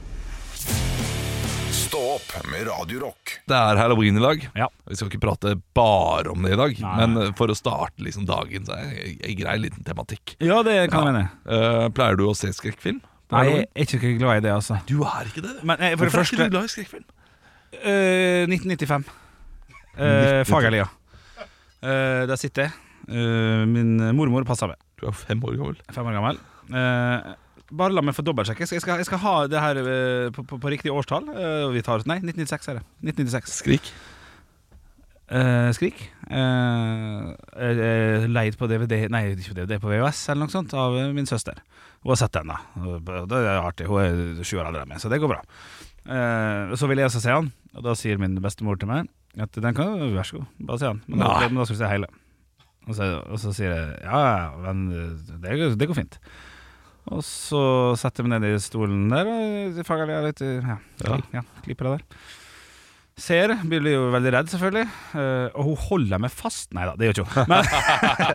S3: Stå opp med Radio Rock.
S2: Det er halloween i dag.
S1: Ja.
S2: Vi skal ikke prate bare om det i dag,
S1: Nei.
S2: men eh, for å starte liksom dagen, så er det en- en grei liten tematikk.
S1: Ja, det kan jeg mene.
S2: Eh, pleier du å se skrekkfilm? på
S1: Nei, jeg
S2: halloween?
S1: er ikke glad i det, altså.
S2: Du er ikke det.
S1: Men eh, for det
S2: Hvorfor er
S1: første
S2: ikke du glad i skrekkfilm?
S1: Eh, 1995. Uh, Fagerlia. Eh, der sitter jeg. Eh, min mormor passer meg.
S2: Du er fem år gammel.
S1: Fem år gammel. Eh, bare la meg få dobbeltsjekke. Jeg skal, jeg skal, jeg skal ha det her eh, på, på, på riktig årstall. Eh, vi tar Nei, 1996 er det. 1996.
S2: Skrik.
S1: Eh, skrik. Eh, eh, leid på DVD Nei, ikke på DVD, på VHS eller noe sånt av eh, min søster. Hun har sett den, da. Og Det er artig. Hun er sju år eldre enn meg, så det går bra. Eh, så vil jeg også se han, og da sier min bestemor til meg at den kan du, vær så god, bare se han. Men da,
S2: Nei.
S1: men da skal du se hele. Og så, og så sier jeg ja, ja, men det, går- det går fint. Og så setter jeg meg ned i stolen der og fager jeg litt ja, ja. klipper det der. Ser, blir jo veldig redd selvfølgelig eh, Og hun holder meg fast Nei da, det gjør ikke hun Men,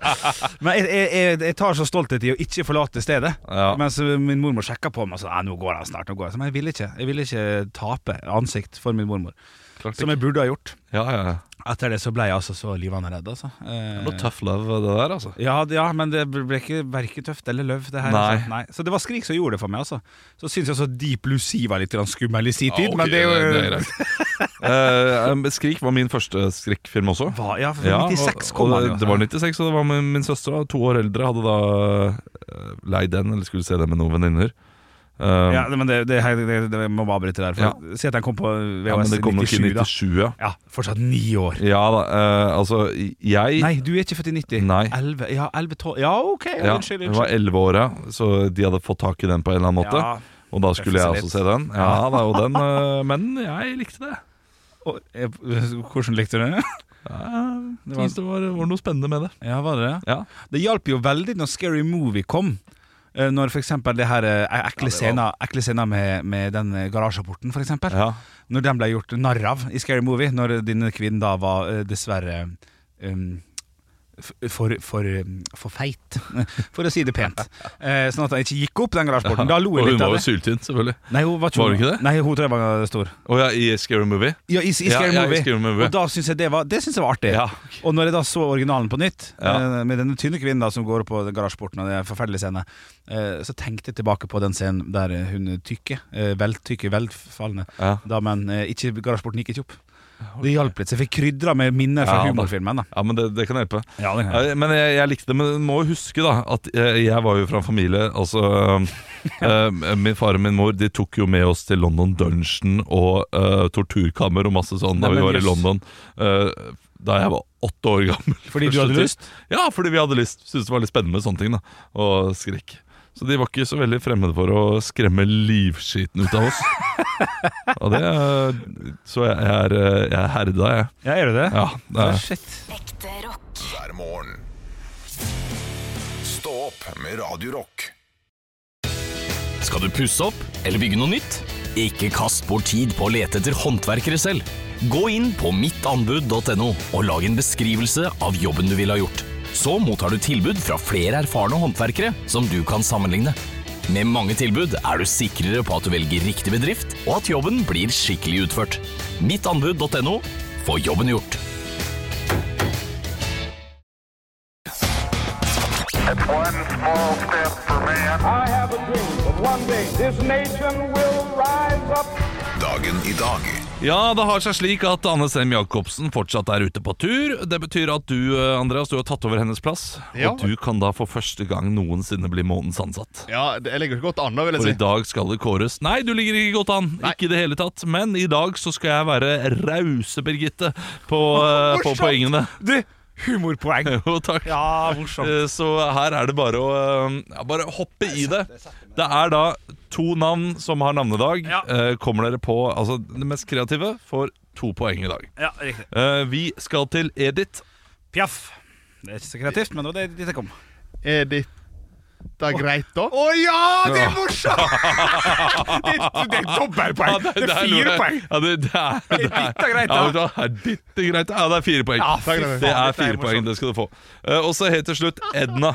S1: men jeg, jeg, jeg, jeg tar så stolthet i å ikke forlate stedet
S2: Ja.
S1: Mens min mormor sjekka på meg og sa «Nei, nå går han snart. Nå går han. Så, Men jeg ville ikke Jeg ville ikke tape ansikt for min mormor,
S2: Klart
S1: som jeg burde ha gjort.
S2: Ja, ja, ja.
S1: Etter det så ble jeg altså så livende redd, altså. Eh,
S2: Noe tough love det der, altså.
S1: ja, d- ja, men det ble ikke verken tøft eller løv. Det her,
S2: Nei.
S1: altså. Nei. Så det var Skrik som gjorde det for meg, altså. Så syns jeg også Deep Lucy var litt grann skummel i sin tid,
S2: Ja, ok,
S1: men det er jo
S2: det er greit. Eh, um, Skrik var min første skrekkfilm også.
S1: Hva? Ja, for
S2: Ja,
S1: 96
S2: og-
S1: kom
S2: og
S1: han jo.
S2: det- Det var 96, og det var min, min søster, da, to år eldre, hadde da eh, leid den, eller skulle se den med noen venninner. Um,
S1: ja,
S2: ja,
S1: men det, det, det, det, det må bare avbryte der. For, Si at den kom på
S2: men
S1: VHS
S2: det kom nok i
S1: 97, da.
S2: 97, ja.
S1: Ja, fortsatt ni år.
S2: Ja da, eh, altså jeg
S1: Nei, du er ikke født i 90.
S2: Nei.
S1: 11, ja, 11, 12 Ja, OK.
S2: ja,
S1: unnskyld.
S2: jeg
S1: unnskyld.
S2: var 11 år, ja, så de hadde fått tak i den på en eller annen måte.
S1: Ja.
S2: Og da skulle jeg også
S1: Refuse litt.
S2: se den. Ja, da, og den eh, Men jeg likte det.
S1: Og, eh, hvordan likte du det?
S2: Jeg synes det var, var noe spennende med det.
S1: Ja, var det
S2: Ja.
S1: Det hjalp jo veldig når Scary Movie kom. Eh, Når f.eks. det her eh, ekle scener, ekle scener med, med den eh, garasjeporten, f.eks. eksempel
S2: Ja.
S1: Når den ble gjort narr av i Scary Movie, når din kvinne da var eh, dessverre um, f- for, for, um, for feit, for å si det pent. Eh, Sånn at den ikke gikk opp, den garasjeporten. Da lo
S2: og
S1: jeg
S2: hun
S1: litt
S2: var
S1: av
S2: jo
S1: det.
S2: syltynn, selvfølgelig.
S1: Nei, hun var ikke,
S2: Var hun ikke det?
S1: Nei, hun tror jeg var stor.
S2: Å ja, i Scary Movie?
S1: Ja, i, i Scary
S2: Ja, ja, i
S1: Movie.
S2: Scary Movie.
S1: Og da syns jeg det var, det synes jeg var artig.
S2: Ja.
S1: Og når jeg da så originalen på nytt,
S2: Ja.
S1: eh, med denne tynne kvinnen da som går opp på garasjeporten, og det er en forferdelig scene, eh, så tenkte jeg tilbake på den scenen der eh, hun tykke, eh, veltykke, velfallende
S2: Ja.
S1: damen eh, ikke, Garasjeporten gikk ikke opp. Det hjalp litt, så jeg fikk krydra med minner fra
S2: Ja, da.
S1: humorfilmen. da
S2: Ja, men det, det kan hjelpe.
S1: Ja, det kan
S2: Eh, Men jeg, jeg likte det. Men du må jo huske da at jeg, jeg var jo fra en familie Altså eh, Min far og min mor De tok jo med oss til London Dungeon og eh, torturkammer og masse sånn da
S1: Nei,
S2: vi
S1: men
S2: var i
S1: jøss.
S2: London. eh, da jeg var åtte år gammel.
S1: Fordi du
S2: Første
S1: hadde
S2: tid.
S1: lyst?
S2: Ja, fordi vi hadde lyst. Syntes det var litt spennende med sånne ting. da Og skrekk. Så de var ikke så veldig fremmede for å skremme livskiten ut av oss. Og det eh, Så jeg jeg er, eh, jeg er herda, jeg.
S1: Ja, gjør du det?
S2: Ja, det
S1: Ah,
S2: er.
S1: Shit.
S3: hver morgen. Stå opp med Radio Rock.
S4: Skal du pusse opp eller bygge noe nytt? Ikke kast bort tid på å lete etter håndverkere selv. Gå inn på mittanbud.no og lag en beskrivelse av jobben du ville ha gjort. Så mottar du tilbud fra flere erfarne håndverkere som du kan sammenligne. Med mange tilbud er du sikrere på at du velger riktig bedrift, og at jobben blir skikkelig utført. Mittanbud.no få jobben gjort.
S5: I have a dream that one day this nation will rise up.
S3: Dagen i dag
S2: Ja, det har seg slik at Anne Sem Jacobsen fortsatt er ute på tur. Det betyr at du, eh, Andreas, du har tatt over hennes plass.
S6: Ja.
S2: Og du kan da for første gang noensinne bli månedens ansatt.
S6: Ja, det- jeg ligger ikke godt an da, vil jeg
S2: For
S6: si.
S2: i dag skal det kåres Nei, du ligger ikke godt an, ikke i det hele tatt Men i dag så skal jeg være rause, Birgitte På, eh, på
S1: Morsomt!
S2: poengene
S1: Du, humorpoeng.
S2: Jo, takk
S1: Ja, morsomt.
S2: Eh, Så her er det bare å eh, ja, Bare hoppe i det Det er da to navn som har navnedag
S1: Ja.
S2: Eh, Kommer dere på Altså, det mest kreative får to poeng i dag
S1: Ja, riktig.
S2: Eh, Vi skal til Edith
S1: Piaff. Det er ikke så kreativt, men det var det dit jeg kom.
S6: Er dette greit, da?
S1: Å ja, det er morsomt! det, det er dobbeltpoeng.
S2: Ja,
S1: Det er
S2: noe-
S1: fire poeng.
S2: Ja, det, det er, det er,
S1: Edith er
S2: ja,
S1: greit, da.
S2: vet du hva, Edith er greit, da. Ja, det er fire poeng
S1: Ja, fy faen,
S2: Det
S1: dette
S2: er fire poeng,
S1: morsomt.
S2: det skal du få. Eh, og så helt til slutt Edna.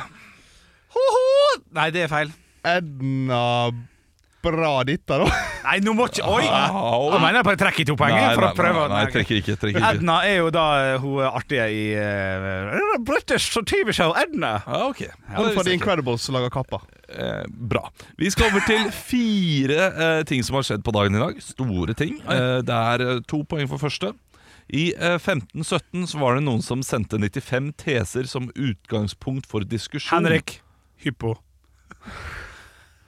S1: Nei, det er feil.
S6: Edna Bra dette, da?
S1: Nei, nå må ikke Oi!
S2: Au.
S1: Jeg mener jeg bare trekker to poeng. jeg, for å prøve å-
S2: Ah, nei, trekker ikke. trekker ikke
S1: Edna er jo da eh, hun er artige i uh, British TV-show Edna.
S2: Ja, ok
S6: Hun fra The Incredibles som lager kappa.
S2: eh, Bra. Vi skal over til fire eh, ting som har skjedd på dagen i dag. Store ting. Eh, det er eh, to poeng for første. I eh, 1517 så var det noen som sendte 95 teser som utgangspunkt for diskusjon.
S1: Henrik. Hyppo.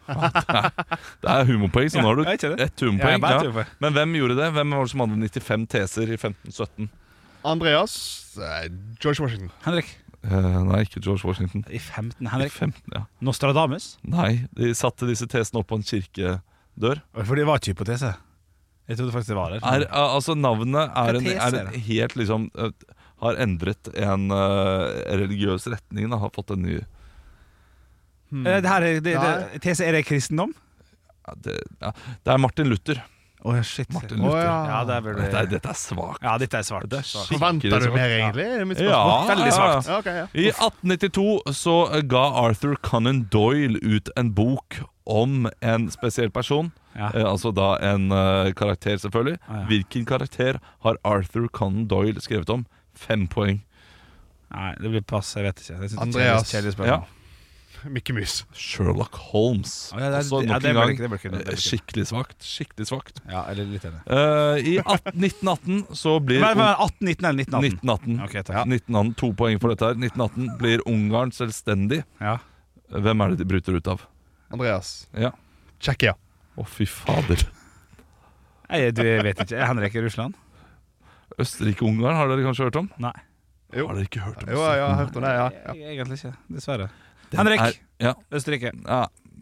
S2: Det er humorpoeng, så nå har du
S1: Ja, er ikke det?
S2: ett
S1: Ja, jeg
S2: humorpoeng.
S1: bare
S2: Ja,
S1: tror på det.
S2: Men hvem gjorde det? Hvem var det som hadde 95 teser i 1517?
S6: Andreas eh, George Washington.
S1: Henrik.
S2: Eh, nei, ikke George Washington.
S1: I 15,
S2: I
S1: Henrik.
S2: 15, ja.
S1: Nostradamus?
S2: Nei, de satte disse tesene opp på en kirkedør.
S1: For det var ikke hypotese. Jeg trodde faktisk det var der.
S2: Er, eh, altså, navnet er en, er en
S1: Mm. Teser.
S2: helt liksom eh, Har endret en eh, religiøs retning. Da, har fått en ny ja, Hmm.
S1: Eh, det her er, det, det, tese, er det kristendom?
S2: det, ja. det er Martin Luther.
S1: Å ja, shit.
S2: Martin Luther.
S1: Ja, det er vel
S2: Dette, er, dette er svakt.
S1: Ja, dette er svart.
S2: Det er
S1: Svart.
S2: skikkelig
S6: Forventer du
S2: svakt.
S6: mer, egentlig? Er det mitt
S2: Ja,
S6: spørsmål?
S2: veldig svakt.
S6: Ja, ok, ja.
S2: I 1892 så ga Arthur Conan Doyle ut en bok om en spesiell person.
S1: Ja.
S2: Eh, altså da en eh, karakter, selvfølgelig.
S1: Ah, ja.
S2: Hvilken karakter har Arthur Conan Doyle skrevet om? Fem poeng.
S1: Nei, det blir pass. Jeg vet ikke. Jeg synes det er
S6: Andreas.
S1: et kjedelig
S2: Ja.
S1: spørsmål.
S6: Mikke Mus.
S2: Sherlock Holmes.
S1: Ah, ja, det er-
S2: Også
S1: ja,
S2: nok
S1: det
S2: en
S1: blir
S2: gang,
S1: ikke- det blir ikke- det blir
S2: eh,
S1: ikke.
S2: Skikkelig svakt. Skikkelig svakt.
S1: Ja, eller litt enig.
S2: Eh, I 18, 1918 så blir
S1: Men, men 18, 19 eller 1918?
S2: 1918.
S1: Ok, takk.
S2: 1918 To poeng for dette her. 1918 blir Ungarn selvstendig.
S1: Ja.
S2: Hvem er det de bryter ut av?
S6: Andreas.
S2: Ja.
S6: Tsjekkia.
S2: Å, fy fader.
S1: Nei, du jeg vet ikke. Henrik i Russland?
S2: Østerrike-Ungarn har dere kanskje hørt om?
S1: Nei.
S6: Jo.
S2: Har dere ikke hørt om
S6: Jo, ja, jeg har hørt om det, ja. ja.
S1: Jeg, egentlig ikke. Dessverre.
S2: Den
S1: Henrik!
S2: er- ja,
S1: Østerrike.
S2: ja,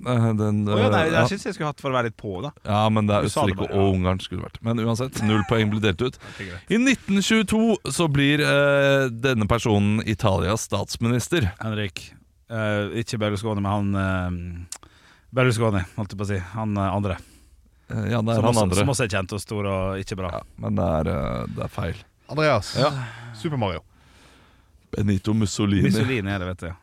S2: eh, den,
S1: Å ja, nei,
S2: eh, ja,
S1: jeg syns jeg skulle hatt for å være litt på, da.
S2: ja, men det er
S1: Du sa det
S2: Østerrike
S1: bare, ja.
S2: og Ungarn skulle vært. Men uansett, null poeng blir delt ut.
S1: Det er greit.
S2: I 1922 så blir eh, denne personen Italias statsminister.
S1: Henrik. eh, ikke Berlusconi, men han eh, Berlusconi, holdt jeg på å si. Han eh, andre.
S2: Eh, ja, det er
S1: Som
S2: han
S1: også,
S2: andre.
S1: som også er kjent og stor og ikke bra.
S2: Ja, men det er, eh, det er feil.
S6: Andreas.
S2: Ja.
S6: Super Mario.
S2: Benito Mussolini.
S1: Mussolini er det, vet du. Ja.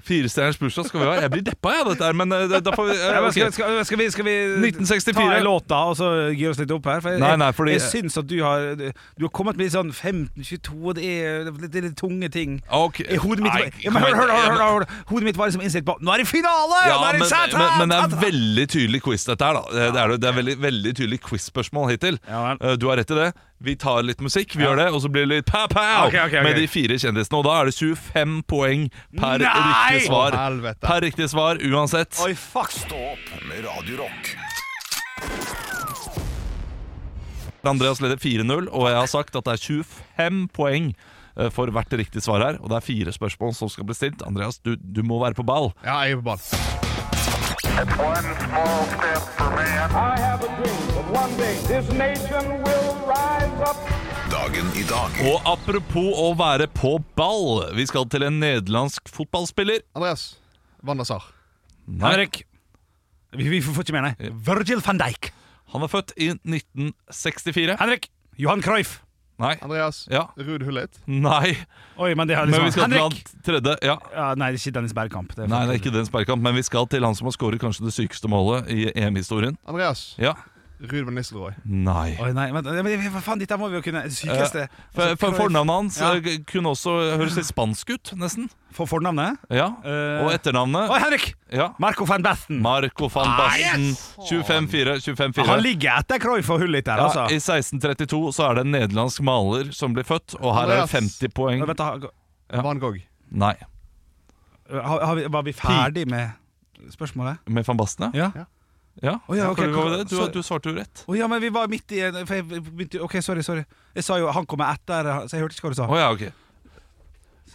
S2: Firestjerners bursdag skal vi ha. Jeg blir deppa, jeg, av dette her, men eh, da får vi eh,
S1: Ja, men
S2: ok.
S1: skal, skal, skal vi, skal vi
S2: 1964.
S1: ta en låt da, og så gir oss litt opp her? For jeg,
S2: Nei, nei, fordi-
S1: jeg syns at du har Du har kommet med litt sånn 15-22, og det er, det er litt tunge ting.
S2: Ok.
S1: Eh, Hodet mitt,
S2: Nei,
S1: var- ja, men, hør, hør, hør, hør, hør. Hodet mitt var liksom innstilt på Nå er det finale!
S2: Ja,
S1: nå er
S2: men,
S1: det sat-
S2: men, men det er veldig tydelig quiz dette her, da. Det er, det er veldig, veldig tydelig quiz-spørsmål hittil.
S1: Ja,
S2: Eh, Du har rett i det. Vi tar litt musikk, vi gjør det, og så blir det litt pow-pow
S1: Ok, ok, ok.
S2: med de fire kjendisene. Og da er det 25 poeng per
S1: Nei!
S2: riktig svar.
S6: Å, helvete.
S2: Per riktig svar uansett.
S1: Oi, fuck!
S3: Stå opp med Radio Rock
S2: Andreas leder 4-0, og jeg har sagt at det er 25 poeng eh, for hvert riktig svar her. Og det er fire spørsmål som skal bli stilt. Andreas, du, du må være på ball.
S6: Ja, jeg er på ball.
S7: I have a dream that one day this nation will rise up.
S4: Dagen i dag.
S2: Og apropos å være på ball, vi skal til en nederlandsk fotballspiller.
S8: Andreas Van der Sar.
S2: Henrik. Vi, får ikke med, nei. Eh, Virgil van Dijk. Han er født i 1964. Henrik. Johan Cruyff. Nei.
S8: Andreas Ruud Hullet.
S2: Nei.
S1: Oi, men det er
S2: Men
S1: liksom
S2: vi skal til
S1: Henrik!
S2: han tredje. Ja.
S1: Ja, nei, det er ikke Dennis Bergkamp. Det er
S2: Nei, det er ikke den sperrekamp, men vi skal til han som har skåret kanskje det sykeste målet i EM-historien.
S8: Andreas
S2: Ja.
S8: Ruud van Nistelrooy.
S2: Nei.
S1: Oi, nei, men, men hva faen, dette må vi jo kunne det Sykeste altså,
S2: Eh, for, for fornavnet hans
S1: Ja.
S2: eh, kunne også høres litt spansk ut, nesten.
S1: For fornavnet?
S2: Ja,
S1: Eh,
S2: Og etternavnet
S1: Oi, Henrik!
S2: Ja.
S1: Marco van Basten.
S2: Marco van
S1: Ah,
S2: Basten. 25-4. 25-4.
S1: Han ligger etter Cruyff og Hullit der,
S2: Ja,
S1: altså.
S2: I 1632 så er det en nederlandsk maler som blir født, og her er det
S1: Andreas.
S2: 50 poeng.
S1: Oi, vent da, gå-
S8: Van Gogh.
S2: Nei.
S1: Har, har vi, var vi ferdig med spørsmålet?
S2: Med van Basten,
S1: ja.
S2: Ja,
S1: Å ja, ok,
S2: for det var jo det.
S1: så-
S2: Du, du svarte jo rett.
S1: Å ja, men vi var midt i en- for jeg begynte, jo- OK, sorry, sorry. Jeg sa jo han kommer etter, så jeg hørte ikke hva du sa.
S2: Å ja, ok.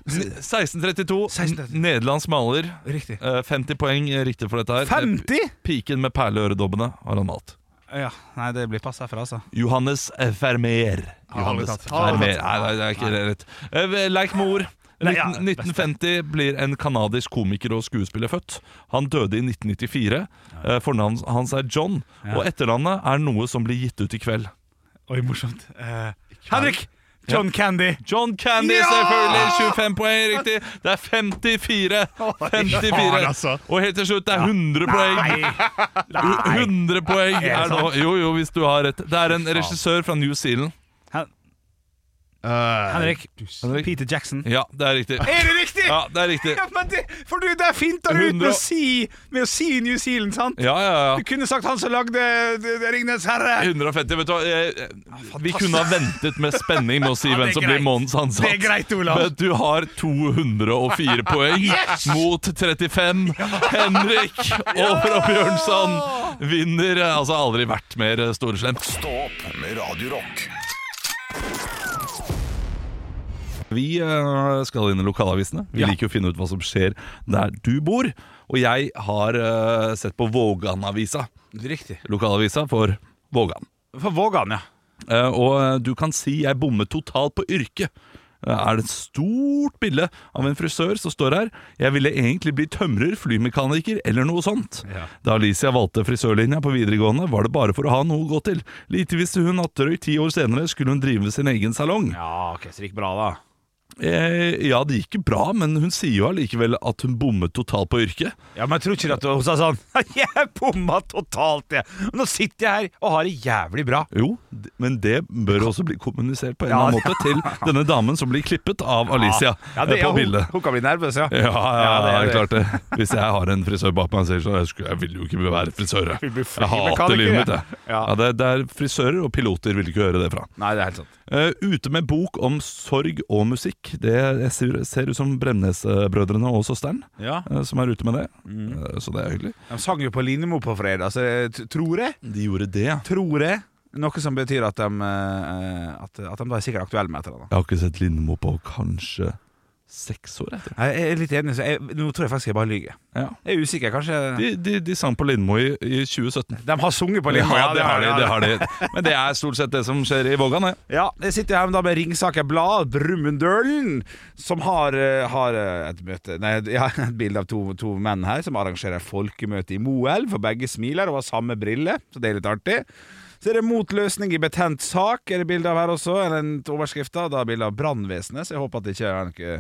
S2: N- 1632. n- Nederlandsk maler.
S1: Riktig.
S2: 50 poeng eh, riktig for dette her. Eh,
S1: 50?
S2: Piken med perleøredobbene har han malt.
S1: Ja, Nei, det blir pass herfra, altså.
S2: Johannes Vermeer.
S1: Har aldri
S2: Johannes
S1: tatt. Har aldri
S2: Vermeer.
S1: tatt.
S2: Nei, nei, det er ikke rett. Eh, Leik Moor.
S1: Nei, ja,
S2: 19, 1950 blir en kanadisk komiker og skuespiller født. Han døde i 1994. Eh, Fornavnet hans er John,
S1: Ja.
S2: og etternavnet er noe som blir gitt ut i kveld.
S1: Oi, morsomt. Eh, Henrik! John
S2: Ja.
S1: Candy.
S2: John Candy,
S1: Ja!
S2: selvfølgelig! 25 poeng, riktig. Det er 54!
S1: faen,
S2: 54.
S1: altså.
S2: Og helt til slutt, det er 100 poeng! 100 poeng
S1: Er det
S2: er nå
S1: sant?
S2: Jo, jo, hvis du har rett. Det er en regissør fra New Zealand. Eh,
S1: Henrik. Peter Jackson.
S2: Ja, det er riktig.
S1: Er det riktig?!
S2: Ja, det er riktig.
S1: Ja, men det, for du, der finter du ut med å, si, med å si New Zealand, sant?
S2: Ja, ja, ja.
S1: Du kunne sagt han som lagde eh, Ringnes herre.
S2: 150, vet du hva jeg,
S1: Ah,
S2: Vi kunne ha ventet med spenning med å si
S1: Ja,
S2: hvem
S1: det er
S2: som blir
S1: greit.
S2: månedens ansatt.
S1: Det er greit, Olav.
S2: Men du har 204 poeng
S1: Yes!
S2: mot 35. Henrik Over og Bjørnson vinner. Altså aldri vært mer storeslem.
S4: Stå opp med Radio Rock.
S2: Vi eh, skal inn i lokalavisene. Vi liker jo å finne ut hva som skjer der du bor. Og jeg har eh, sett på Vågan-avisa.
S1: Riktig.
S2: Lokalavisa for Vågan.
S1: For Vågan, ja.
S2: Eh, og eh, du kan si 'jeg bommet totalt på yrke'. Eh, Er det et stort bilde av en frisør som står her? 'Jeg ville egentlig bli tømrer, flymekaniker eller noe sånt'.
S1: Ja.
S2: Da Alicia valgte frisørlinja på videregående, var det bare for å ha noe å gå til. Lite visste hun at drøyt ti år senere skulle hun drive sin egen salong.
S1: Ja, ok, så det gikk bra, da.
S2: Eh, ja, det gikk jo bra, men hun sier jo allikevel at hun bommet totalt på yrket.
S1: Ja, men jeg tror ikke at hun sa sånn Jeg bomma totalt, jeg. Nå sitter jeg her og har det jævlig bra.
S2: Jo, d- men det bør også bli kommunisert på en
S1: Ja,
S2: eller annen måte til denne damen som blir klippet av Alicia
S1: Ja,
S2: eh, på
S1: det, ja, hun,
S2: bildet.
S1: Hun kan bli nervøs, ja.
S2: Ja, ja, ja, det er klart
S1: det.
S2: det. Hvis jeg har en frisør bak meg selv, så jeg, skulle, jeg vil jo ikke være frisør. Jeg,
S1: vil bli
S2: jeg hater
S1: flymekaniker,
S2: livet mitt,
S1: jeg.
S2: jeg. Ja, det, det er frisører og piloter vil ikke høre det fra.
S1: Nei, det er helt sant.
S2: Eh, ute med bok om sorg og musikk. Det ser, ser ut som Bremnes-brødrene og søsteren
S1: Ja.
S2: eh, som er ute med det. Eh, så det er hyggelig.
S1: De sang jo på Linemo på fredag, så jeg t- tror jeg
S2: De gjorde det, ja.
S1: Tror jeg. Noe som betyr at de, eh, at, at de da er sikkert aktuelle med et eller annet.
S2: Jeg har ikke sett Lindmo på kanskje seks år. Jeg, tror.
S1: Nei, Jeg er litt enig, så jeg, nå tror jeg faktisk jeg bare lyver.
S2: Ja.
S1: Jeg er usikker, kanskje
S2: De, de, de sang på Lindmo i, i 2017.
S1: De har sunget på Lindmo,
S2: Ja,
S1: ja,
S2: det har de.
S1: det
S2: Det
S1: har
S2: har
S1: de.
S2: de. Men det er stort sett det som skjer i Vågan. Ja.
S1: Ja, jeg sitter her da med Ringsaker Blad, Brumunddølen, som har, eh, har eh, et møte Nei, ja, et bilde av to, to menn her som arrangerer folkemøte i Moelv, for begge smiler og har samme brille, så det er litt artig. Så er det motløsning i betent sak, er det bilde av her også, eller en overskrift da, da er bilde av brannvesenet, så jeg håper at det ikke er noe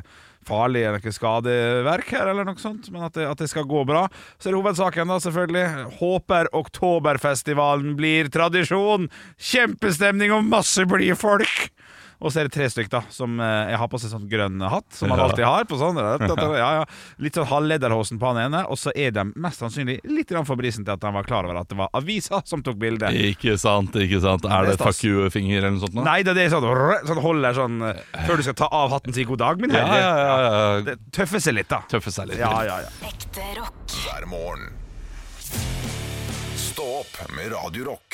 S1: farlig eller noe skadeverk her, eller noe sånt, men at det, at det skal gå bra. Så er det hovedsaken da, selvfølgelig. Håper Oktoberfestivalen blir tradisjon. Kjempestemning og masse blide folk. Og så er det tre stykk da, som eh, jeg har på seg sånn grønn hatt, som man
S2: Ja.
S1: alltid har på sånn. Ja, ja. Litt sånn halvlederhosen på han ene, og så er de mest sannsynlig litt grann for brisen til at han var klar over at det var avisa som tok bildet.
S2: Ikke sant, ikke sant. Er det
S1: Det er stas.
S2: fuck you-finger eller noe sånt? nå?
S1: Nei, det er det sånn, rrr, sånn holder sånn eh, Før du skal ta av hatten og si god dag, min
S2: Ja,
S1: herre.
S2: ja, ja, ja.
S1: Det tøffer seg litt, da.
S2: Tøffe seg litt.
S1: Ja, ja, ja.
S4: Ekte rock. Hver morgen. Stå opp med Radio Rock.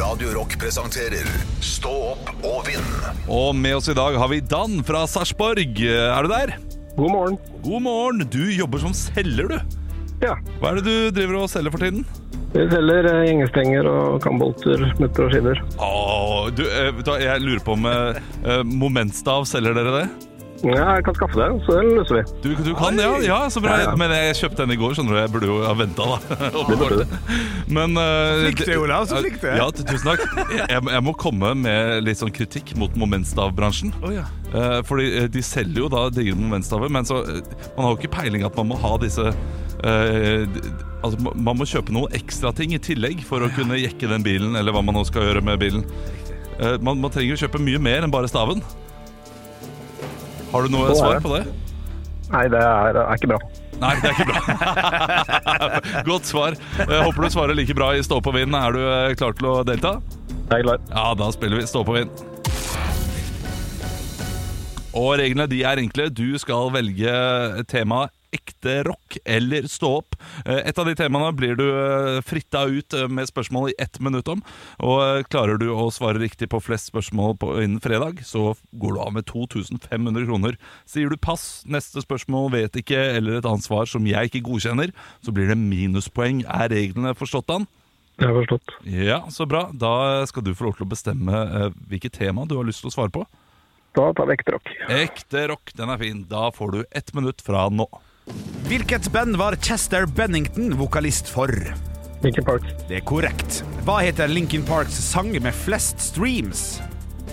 S4: Radio Rock presenterer Stå opp og vinn.
S2: Og med oss i dag har vi Dan fra Sarpsborg. Er du der?
S9: God morgen.
S2: God morgen. Du jobber som selger, du.
S4: Ja.
S2: Hva er det du driver og selger for tiden?
S4: Vi selger eh, gjengestenger og kambolter, smutter og skiver.
S2: Åh, du, eh, vet du hva, jeg lurer på om eh, eh, Momentstav selger dere det?
S4: Ja, jeg kan skaffe det, så det løser vi.
S2: Du, du kan det, ja? ja så bra.
S4: Ja, ja.
S2: Men jeg kjøpte den i går, skjønner du. Jeg burde jo ha venta, da. Og
S4: Det burde
S2: betalt. Men eh,
S4: Flink det, Olav, så flink det.
S2: Ja, t- tusen takk. Jeg, jeg må komme med litt sånn kritikk mot momentstavbransjen.
S4: Å, ja.
S2: Eh, fordi eh, de selger jo da digre momentstaver, men så eh, Man har jo ikke peiling at man må ha disse eh, d- Altså, ma- Man må kjøpe noen ekstrating i tillegg for å kunne jekke den bilen, eller hva man nå skal gjøre med bilen. Eh, man, man trenger jo kjøpe mye mer enn bare staven. Har du noe
S4: Så er
S2: svar
S4: det.
S2: på det?
S4: Nei, det er, er ikke bra.
S2: Nei, det er ikke bra. Godt svar. Jeg håper du svarer like bra i Stå på vind. Er du eh, klar til å delta?
S4: Jeg er klar.
S2: Ja, da spiller vi Stå på vind. Og reglene de er enkle. Du skal velge tema ekte rock eller stå opp. Eh, Et av de temaene blir du eh, fritta ut eh, med spørsmål i ett minutt om. Og eh, klarer du å svare riktig på flest spørsmål på, innen fredag, så går du av med 2500 kroner. Sier du pass, neste spørsmål vet ikke, eller et annet svar som jeg ikke godkjenner, så blir det minuspoeng. Er reglene forstått, Dan?
S4: Jeg har forstått.
S2: Ja, så bra. Da skal du få lov til å bestemme eh, hvilket tema du har lyst til å svare på.
S4: Da tar vi ekte rock.
S2: Ekte rock, den er fin. Da får du ett minutt fra nå.
S1: Hvilket band var Chester Bennington vokalist for?
S4: Linkin Park.
S1: Det er korrekt. Hva heter Linkin Parks sang med flest streams?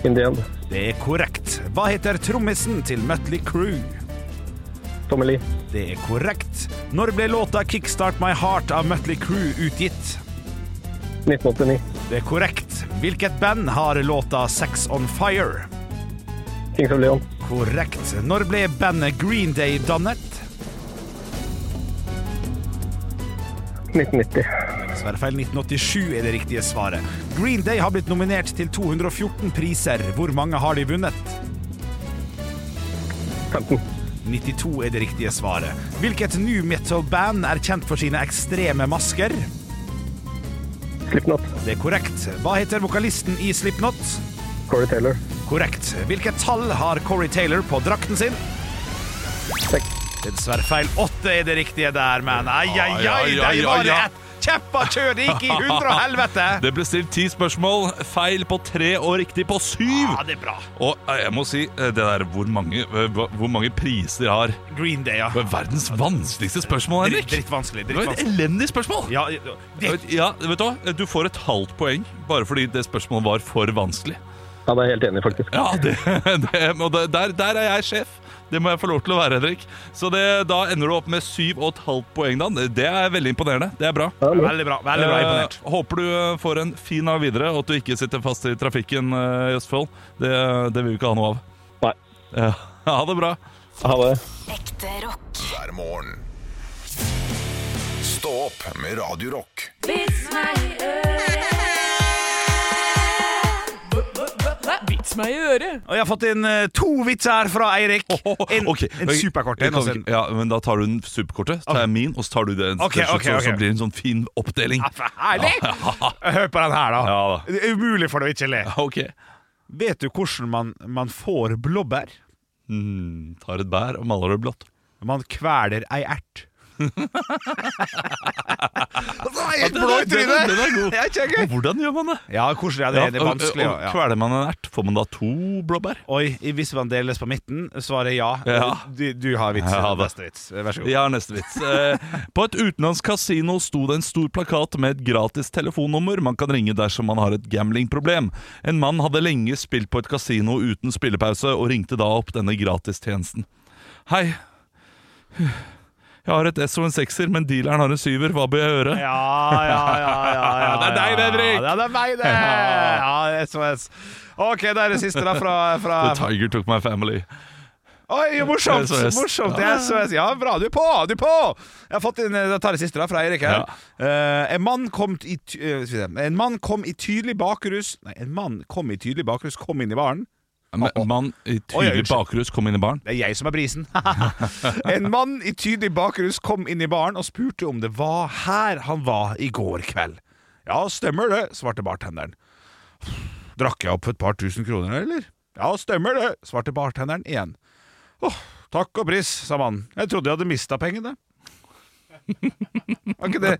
S4: Indian.
S1: Det er korrekt. Hva heter trommisen til Mutley Crew?
S4: Tommy Lee.
S1: Det er korrekt. Når ble låta 'Kickstart My Heart' av Mutley Crew utgitt?
S4: 1989.
S1: Det er korrekt. Hvilket band har låta 'Sex On Fire'?
S4: Kings of Leon.
S1: Korrekt. Når ble bandet Green Day dannet?
S4: 1990.
S1: Dessverre feil. 1987 er det riktige svaret. Green Day har blitt nominert til 214 priser. Hvor mange har de vunnet?
S4: 15.
S1: 92 er det riktige svaret. Hvilket new metal-band er kjent for sine ekstreme masker?
S4: Slipknot.
S1: Det er korrekt. Hva heter vokalisten i Slipknot?
S4: Corey Taylor.
S1: Korrekt. Hvilket tall har Corey Taylor på drakten sin? Det er dessverre feil. Åtte er det riktige der, men ai, ai, ai,
S2: Ai,
S1: det
S2: ai,
S1: er
S2: ai,
S1: bare
S2: ai.
S1: ett kjeppa kjør! Det gikk i hundre og helvete!
S2: Det ble stilt ti spørsmål. Feil på tre og riktig på syv.
S1: Ja, det er bra.
S2: Og eh, jeg må si eh, det der hvor mange, eh, hva- hvor mange priser jeg har
S1: Green Day, ja.
S2: Det er verdens vanskeligste spørsmål, Henrik.
S1: Dritt- drittvanskelig,
S2: Det var et
S1: drittvanskelig.
S2: elendig spørsmål.
S1: Ja,
S2: ja, vet Du hva? Du får et halvt poeng bare fordi det spørsmålet var for vanskelig.
S4: Ja, det er jeg helt enig i, faktisk.
S2: Ja, det, det, og det- der, der er jeg sjef. Det må jeg få lov til å være, Henrik. Så det, da ender du opp med syv og et halvt poeng. Dan. Det er veldig imponerende. Det er bra.
S1: Veldig bra, veldig bra
S2: Eh,
S1: imponert.
S2: håper du eh, får en fin dag videre, og at du ikke sitter fast i trafikken eh, i Østfold. Det, det vil vi ikke ha noe av.
S4: Nei.
S2: ha det bra.
S4: Ha det.
S10: Ekte rock. Hver morgen. Stå opp med Radio Rock.
S11: Vits meg i øret. Vits meg i øret.
S1: Og jeg har fått inn eh, to vitser fra Eirik. En, en superkort
S2: Jeg kan
S1: en. altså. og så en-
S2: ikke- Ja, men da tar du den superkortet, tar jeg min, og så tar du den.
S1: Ok,
S2: til slutt,
S1: ok,
S2: så-
S1: ok.
S2: Så blir det en sånn fin oppdeling.
S1: Herlig! Hør på den her, da.
S2: Ja, da.
S1: Det er umulig for deg å ikke le.
S2: Ok.
S1: Vet du hvordan man, man får blåbær?
S2: Mm, tar et bær og maler det blått.
S1: Man kveler ei ert.
S2: Ja, den er- den er- den er god. Og Hvordan gjør man det?
S1: Ja, hvordan er det? Det er
S2: og-
S1: vanskelig.
S2: og- og
S1: ja.
S2: Kveler man en ert, får man da to blåbær?
S1: Oi, hvis man deles på midten, svaret ja.
S2: Ja.
S1: Du, du har vits.
S2: Ja, da.
S1: Neste vits. Vær så god.
S2: Jeg har neste vits. Eh, På et utenlandsk kasino sto det en stor plakat med et gratis telefonnummer man kan ringe dersom man har et gamblingproblem. En mann hadde lenge spilt på et kasino uten spillepause, og ringte da opp denne gratistjenesten. Hei. Jeg har et S og en sekser, men dealeren har en syver. Hva bør jeg gjøre?
S1: Ja, ja, ja, ja, ja,
S2: Det er deg, det, Henrik!
S1: Ja, det er meg, det! Ja, SOS. OK, det er det siste, da, fra, fra
S2: The Tiger Took My Family.
S1: Oi, morsomt!
S2: SOS.
S1: morsomt
S2: Ja.
S1: ja. SOS. ja, bra. Du er på! Du er på! Jeg har fått inn Jeg tar det siste da, fra Eirik her. Eh, en, mann kom i, ty- eh, skal vi se. en mann kom i tydelig bakrus Nei, en mann kom i tydelig bakrus, kom inn i baren.
S2: En mann i
S1: Oi, ja,
S2: tydelig
S1: unnskyld.
S2: bakrus kom inn i baren.
S1: Det er jeg som er brisen. en mann i tydelig bakrus kom inn i baren og spurte om det var her han var i går kveld. Ja, stemmer det, svarte bartenderen. Drakk jeg opp et par tusen kroner, eller? Ja, stemmer det, svarte bartenderen igjen. Åh, takk og pris, sa mannen. Jeg trodde jeg hadde mista pengene. Var ikke det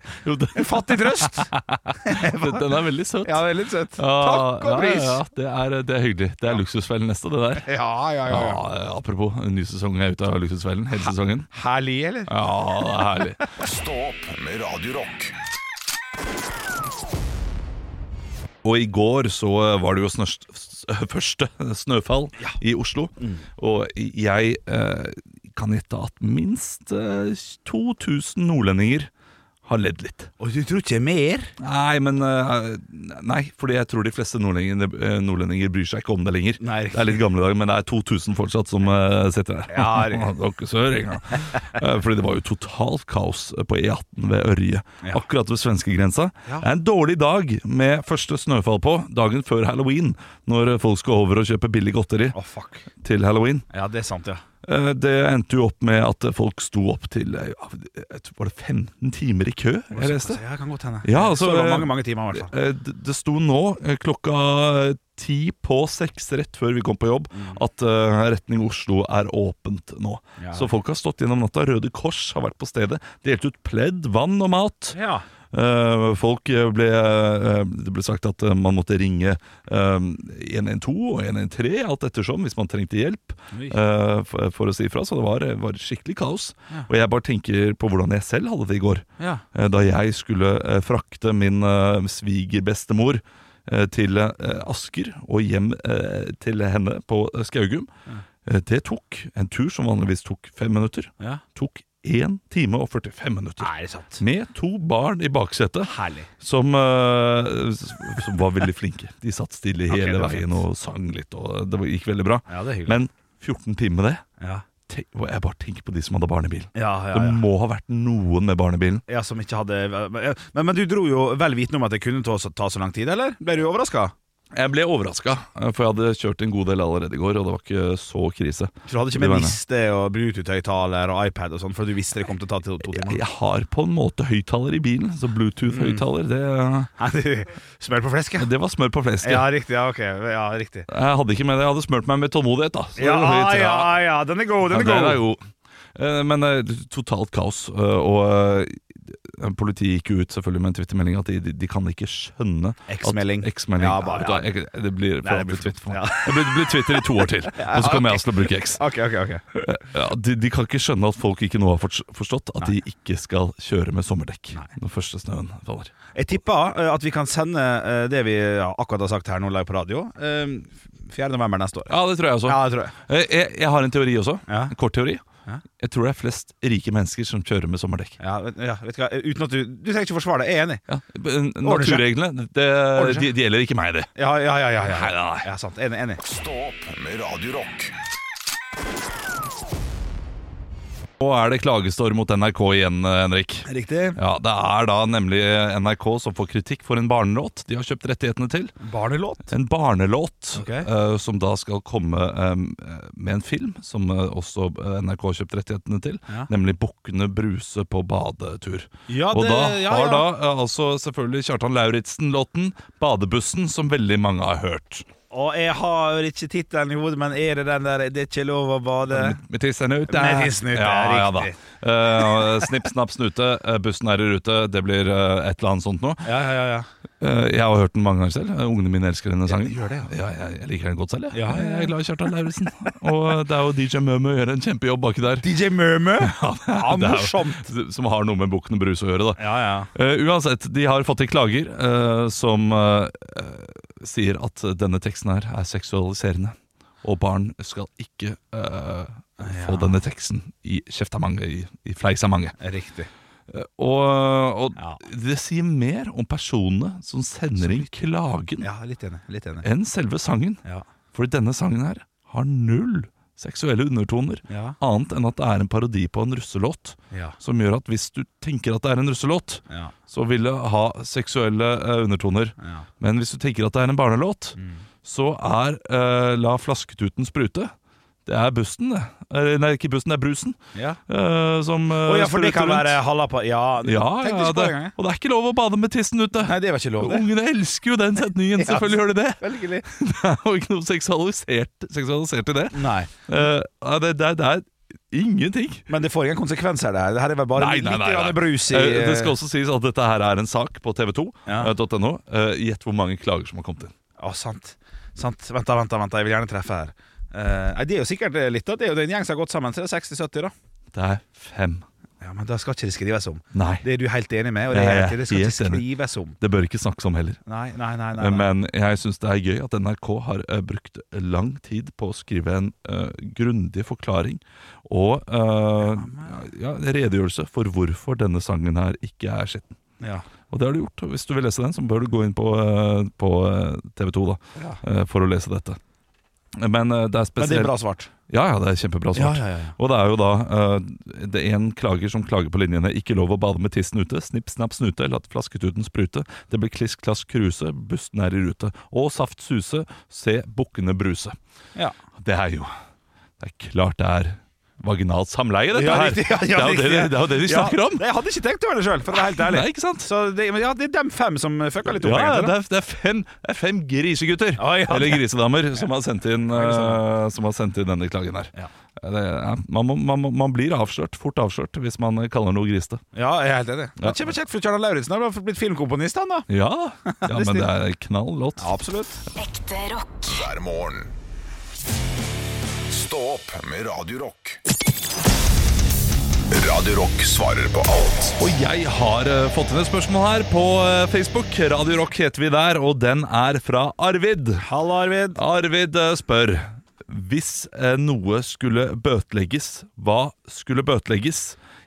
S1: en fattig trøst?
S2: Den er veldig søt.
S1: Ja, veldig søt.
S2: Ja,
S1: Takk og
S2: ja,
S1: pris!
S2: Ja, det, er, det er hyggelig. Det er luksusfellen neste, det der.
S1: Ja, ja, ja, ja.
S2: Ja, eh, apropos, en ny sesong er ute av luksusfellen. Hele sesongen.
S1: Herlig, eller?
S2: Ja, det er herlig.
S12: Stå opp med Radio Rock.
S2: Og i går så var det jo snørst, s- første snøfall i Oslo.
S1: Mm.
S2: Og jeg eh, kan gjette at minst eh, 2000 nordlendinger har ledd litt.
S1: Og du tror ikke mer?
S2: Nei, men eh, Nei, fordi jeg tror de fleste nordlendinger, eh, nordlendinger bryr seg ikke om det lenger. Det er litt gamle dager, men det er 2000 fortsatt som eh, sitter der.
S1: Ja,
S2: Dere søringer. Eh, fordi det var jo totalt kaos eh, på E18 ved Ørje, akkurat ved svenskegrensa.
S1: Ja.
S2: Det er en dårlig dag med første snøfall på, dagen før halloween, når folk skal over og kjøpe billig godteri til halloween.
S1: Ja, det er sant, ja.
S2: Eh, Det endte jo opp med at folk sto opp til eh, ja, jeg tror- Var det 15 timer i kø? Jeg leste.
S1: Ja, kan godt hende.
S2: Ja, altså,
S1: så det var
S2: eh,
S1: mange, mange timer, i hvert fall.
S2: eh, d- Det sto nå eh, klokka ti på seks rett før vi kom på jobb at eh, retning Oslo er åpent nå.
S1: Mm. Ja.
S2: Så folk har stått gjennom natta. Røde Kors har vært på stedet. Delt ut pledd, vann og mat.
S1: Ja.
S2: Eh, folk eh, ble eh, Det ble sagt at eh, man måtte ringe eh, 112 og 113 alt ettersom hvis man trengte hjelp
S1: Oi.
S2: eh, for, for å si ifra. Så det var, eh, var skikkelig kaos.
S1: Ja.
S2: Og jeg bare tenker på hvordan jeg selv hadde det i går.
S1: Ja.
S2: Eh, Da jeg skulle eh, frakte min eh, svigerbestemor eh, til eh, Asker og hjem eh, til henne på eh, Skaugum. Eh, Det tok en tur som vanligvis tok fem minutter.
S1: Ja.
S2: Tok 1 time og 45 minutter. Med to barn i baksetet. Som, eh, s- som var veldig flinke. De satt stille
S1: Ok,
S2: hele
S1: det var
S2: veien
S1: fint.
S2: og sang litt, og det var- gikk veldig bra.
S1: Ja, det er hyggelig.
S2: Men 14 timer med det
S1: Ja.
S2: Tenk- og Jeg bare tenker på de som hadde barnebil.
S1: Ja, ja,
S2: Det
S1: ja.
S2: må ha vært noen med barnebilen.
S1: Ja, som ikke hadde men, men du dro jo vel vitende om at det kunne ta, så- ta så lang tid, eller? Ble du overraska?
S2: Jeg ble overraska, for jeg hadde kjørt en god del allerede i går, og det var ikke så krise.
S1: Du hadde ikke med liste og Bluetooth-høyttaler og iPad og sånn, for du visste det kom til å ta til to timer?
S2: Jeg har på en måte høyttaler i bilen, så
S1: Mm.
S2: Bluetooth-høyttaler, det
S1: Smør på flesk, ja.
S2: Det var smør på flesk,
S1: Ja,
S2: ja.
S1: riktig. Ja, ok. Ja, riktig.
S2: Jeg hadde ikke med det, jeg hadde smurt meg med tålmodighet, da. Så det
S1: Ja,
S2: var høyt,
S1: ja, ja. Den er god,
S2: Ja,
S1: den er god.
S2: Den er god. Eh, Men eh, totalt kaos. eh, Og eh, politiet gikk jo ut selvfølgelig med en twittermelding at de, de, de kan ikke skjønne at-
S1: X-melding.
S2: X-melding.
S1: Ja, bare-
S2: Vet du hva, jeg- Det blir for
S1: Nei, det blir
S2: alltid Twitter for meg.
S1: ja.
S2: Det blir, det blir Twitter i to år til,
S1: Ja,
S2: og så kommer
S1: ok.
S2: jeg også til å bruke X.
S1: Ok, ok, ok
S2: Eh, Ja, de, de kan ikke skjønne at folk ikke nå har forts- forstått at de ikke skal kjøre med sommerdekk når første snøen faller.
S1: Jeg tipper eh, at vi kan sende eh, det vi ja, akkurat har sagt her nå live på radio, eh, 4. november neste år.
S2: Ja, det tror jeg også.
S1: Ja, det tror jeg.
S2: Eh, Jeg, jeg har en teori også. En kort teori. Jeg tror det er flest rike mennesker som kjører med sommerdekk.
S1: Ja, vet- ja, vet du hva, eh, uten at du Du trenger ikke forsvare det, jeg er enig.
S2: N-
S1: Ordner seg.
S2: Naturreglene det,
S1: Ordner seg.
S2: de, de gjelder ikke meg, det.
S1: Ja, ja, ja. ja, ja.
S2: Nei, nei, nei.
S1: ja sant. Enig. enig.
S12: Stå opp med Radio Rock.
S2: Nå er det klagestorm mot NRK igjen, eh, Henrik.
S1: Riktig.
S2: Ja, Det er da nemlig NRK som får kritikk for en barnelåt de har kjøpt rettighetene til.
S1: Barnelåt?
S2: En barnelåt
S1: Ok.
S2: eh, som da skal komme eh, med en film som eh, også eh, NRK har kjøpt rettighetene til.
S1: Ja.
S2: Nemlig 'Bukkene Bruse på badetur'.
S1: Ja,
S2: Og
S1: det-
S2: da
S1: ja,
S2: har
S1: ja.
S2: da eh, altså selvfølgelig Kjartan Lauritzen-låten 'Badebussen', som veldig mange har hørt.
S1: Og jeg har ikke tittelen i hodet, men er det den der 'Det er ikke lov å bade'?
S2: Med tissen ute.
S1: Med tissen ute,
S2: eh. ja,
S1: riktig.
S2: Ja, da. Eh, snipp, snapp, snute. eh, bussen er i rute. Det blir eh, et eller annet sånt noe.
S1: Ja, ja, ja, ja.
S2: Eh, jeg har hørt den mange ganger selv. Eh, ungene mine elsker denne sangen.
S1: gjør det,
S2: ja. jeg, jeg liker den godt selv, jeg.
S1: Ja, ja, ja.
S2: Jeg er glad i Kjartan Lauritzen. Og det er jo DJ Mømø gjør en kjempejobb baki der.
S1: DJ Mømø?
S2: Ja, det er,
S1: Ja,
S2: det er jo-
S1: morsomt.
S2: som har noe med Bukken og Brus å gjøre, da.
S1: Ja, ja.
S2: Eh, uansett, de har fått inn klager eh, som eh, eh, sier at denne teksten her er seksualiserende, og barn skal ikke eh, få denne teksten i kjeft av mange, i, i fleis av mange.
S1: Riktig.
S2: Eh, og og det sier mer om personene som sender inn klagen,
S1: Ja, litt enig. Litt enig.
S2: enn selve sangen.
S1: Ja.
S2: For denne sangen her har null seksuelle undertoner,
S1: Ja.
S2: annet enn at det er en parodi på en russelåt.
S1: Ja.
S2: Som gjør at hvis du tenker at det er en russelåt,
S1: Ja.
S2: så vil det ha seksuelle eh, undertoner. Men hvis du tenker at det er en barnelåt,
S1: Mm.
S2: så er eh, La flasketuten sprute. Det er bussen, det. Eh, Nei, ikke bussen, det er brusen.
S1: Ja.
S2: eh, som eh,
S1: Å ja, for
S2: spruter
S1: det kan
S2: rundt.
S1: være halla på Ja,
S2: Ja, ja
S1: tenkte ikke på
S2: det,
S1: det engang.
S2: og det er ikke lov å bade med tissen ute.
S1: Nei, det var ikke lov, det.
S2: Ungene elsker jo den setningen.
S1: Ja,
S2: Selvfølgelig gjør de det.
S1: selvfølgelig.
S2: Det er jo ikke noe seksualisert, seksualisert i det.
S1: Nei.
S2: Eh, ja, det, det, er- det er Ingenting.
S1: Men det får ingen konsekvenser, det her. Det her er vel bare litt grann brus i
S2: Eh, Det skal også sies at dette her er en sak på eh, tv2.no. Gjett hvor mange klager som har kommet inn.
S1: Å, sant. sant. Vent, da, vent, da, vent, da. Jeg vil gjerne treffe her. Eh, nei, det er jo sikkert eh, litt, da. Det er jo det er en gjeng som har gått sammen. Så det er 60-70, da.
S2: Det er fem.
S1: Ja, Men da skal ikke det skrives om.
S2: Nei.
S1: Det er du helt enig med, og det
S2: Jeg
S1: er
S2: er
S1: helt, det skal
S2: helt
S1: ikke
S2: enig.
S1: skrives om.
S2: Det bør ikke snakkes om heller.
S1: Nei, nei, nei. nei, nei.
S2: Men jeg syns det er gøy at NRK har eh, brukt lang tid på å skrive en uh, grundig forklaring og eh, ja, redegjørelse for hvorfor denne sangen her ikke er skitten.
S1: Ja.
S2: Og det har du gjort. og Hvis du vil lese den, så bør du gå inn på, eh, på TV 2 da, eh, for å lese dette. Men eh, det er
S1: Men
S2: spesielt
S1: det er bra svart.
S2: Ja, ja, det er kjempebra
S1: Ja,
S2: svart.
S1: ja, ja, ja.
S2: Og det er jo da eh, det er en klager som klager på linjene Ikke lov å bade med tissen ute, snipp, snapp, snute, latt flasketuten sprute, det blir kliss, klass, kruse, bussen er i rute, og saft suse, se bukkene bruse.
S1: Ja.
S2: Det er jo Det er klart det er vaginalt samleie, dette
S1: Ja,
S2: her!
S1: riktig, ja, ja,
S2: det, er jo det,
S1: riktig.
S2: de- det er jo det de
S1: Ja,
S2: snakker om!
S1: Jeg hadde ikke tenkt over det sjøl, for å være helt ærlig.
S2: Nei, ikke sant?
S1: Så det, men ja, det er dem fem som fucka litt opp.
S2: Ja,
S1: egentlig,
S2: det
S1: da.
S2: er, det, er fem, det er fem grisegutter,
S1: ja,
S2: eller
S1: det-
S2: grisedamer, som har sendt inn, eh, som har sendt inn denne klagen her. Det, ja, man, må, man, må, man blir avslørt, fort avslørt, hvis man eh, kaller noe grisete.
S1: ja, jeg er helt enig.
S2: Ja.
S1: Men Kjempekjekt, for Kjartan Lauritzen har blitt filmkomponist, han da.
S2: Ja, da. ja men
S1: Det
S2: det
S1: stemmer.
S2: er knall låt.
S1: absolutt.
S4: Ekte rock. Hver morgen. Stå opp med Radio Rock. Radio Rock svarer på alt.
S2: Og jeg har eh, fått inn et spørsmål her på eh, Facebook. Radio Rock heter vi der, og den er fra Arvid.
S1: Hallo, Arvid.
S2: Arvid eh, spør Hvis eh, noe skulle bøtelegges, hva skulle bøtelegges?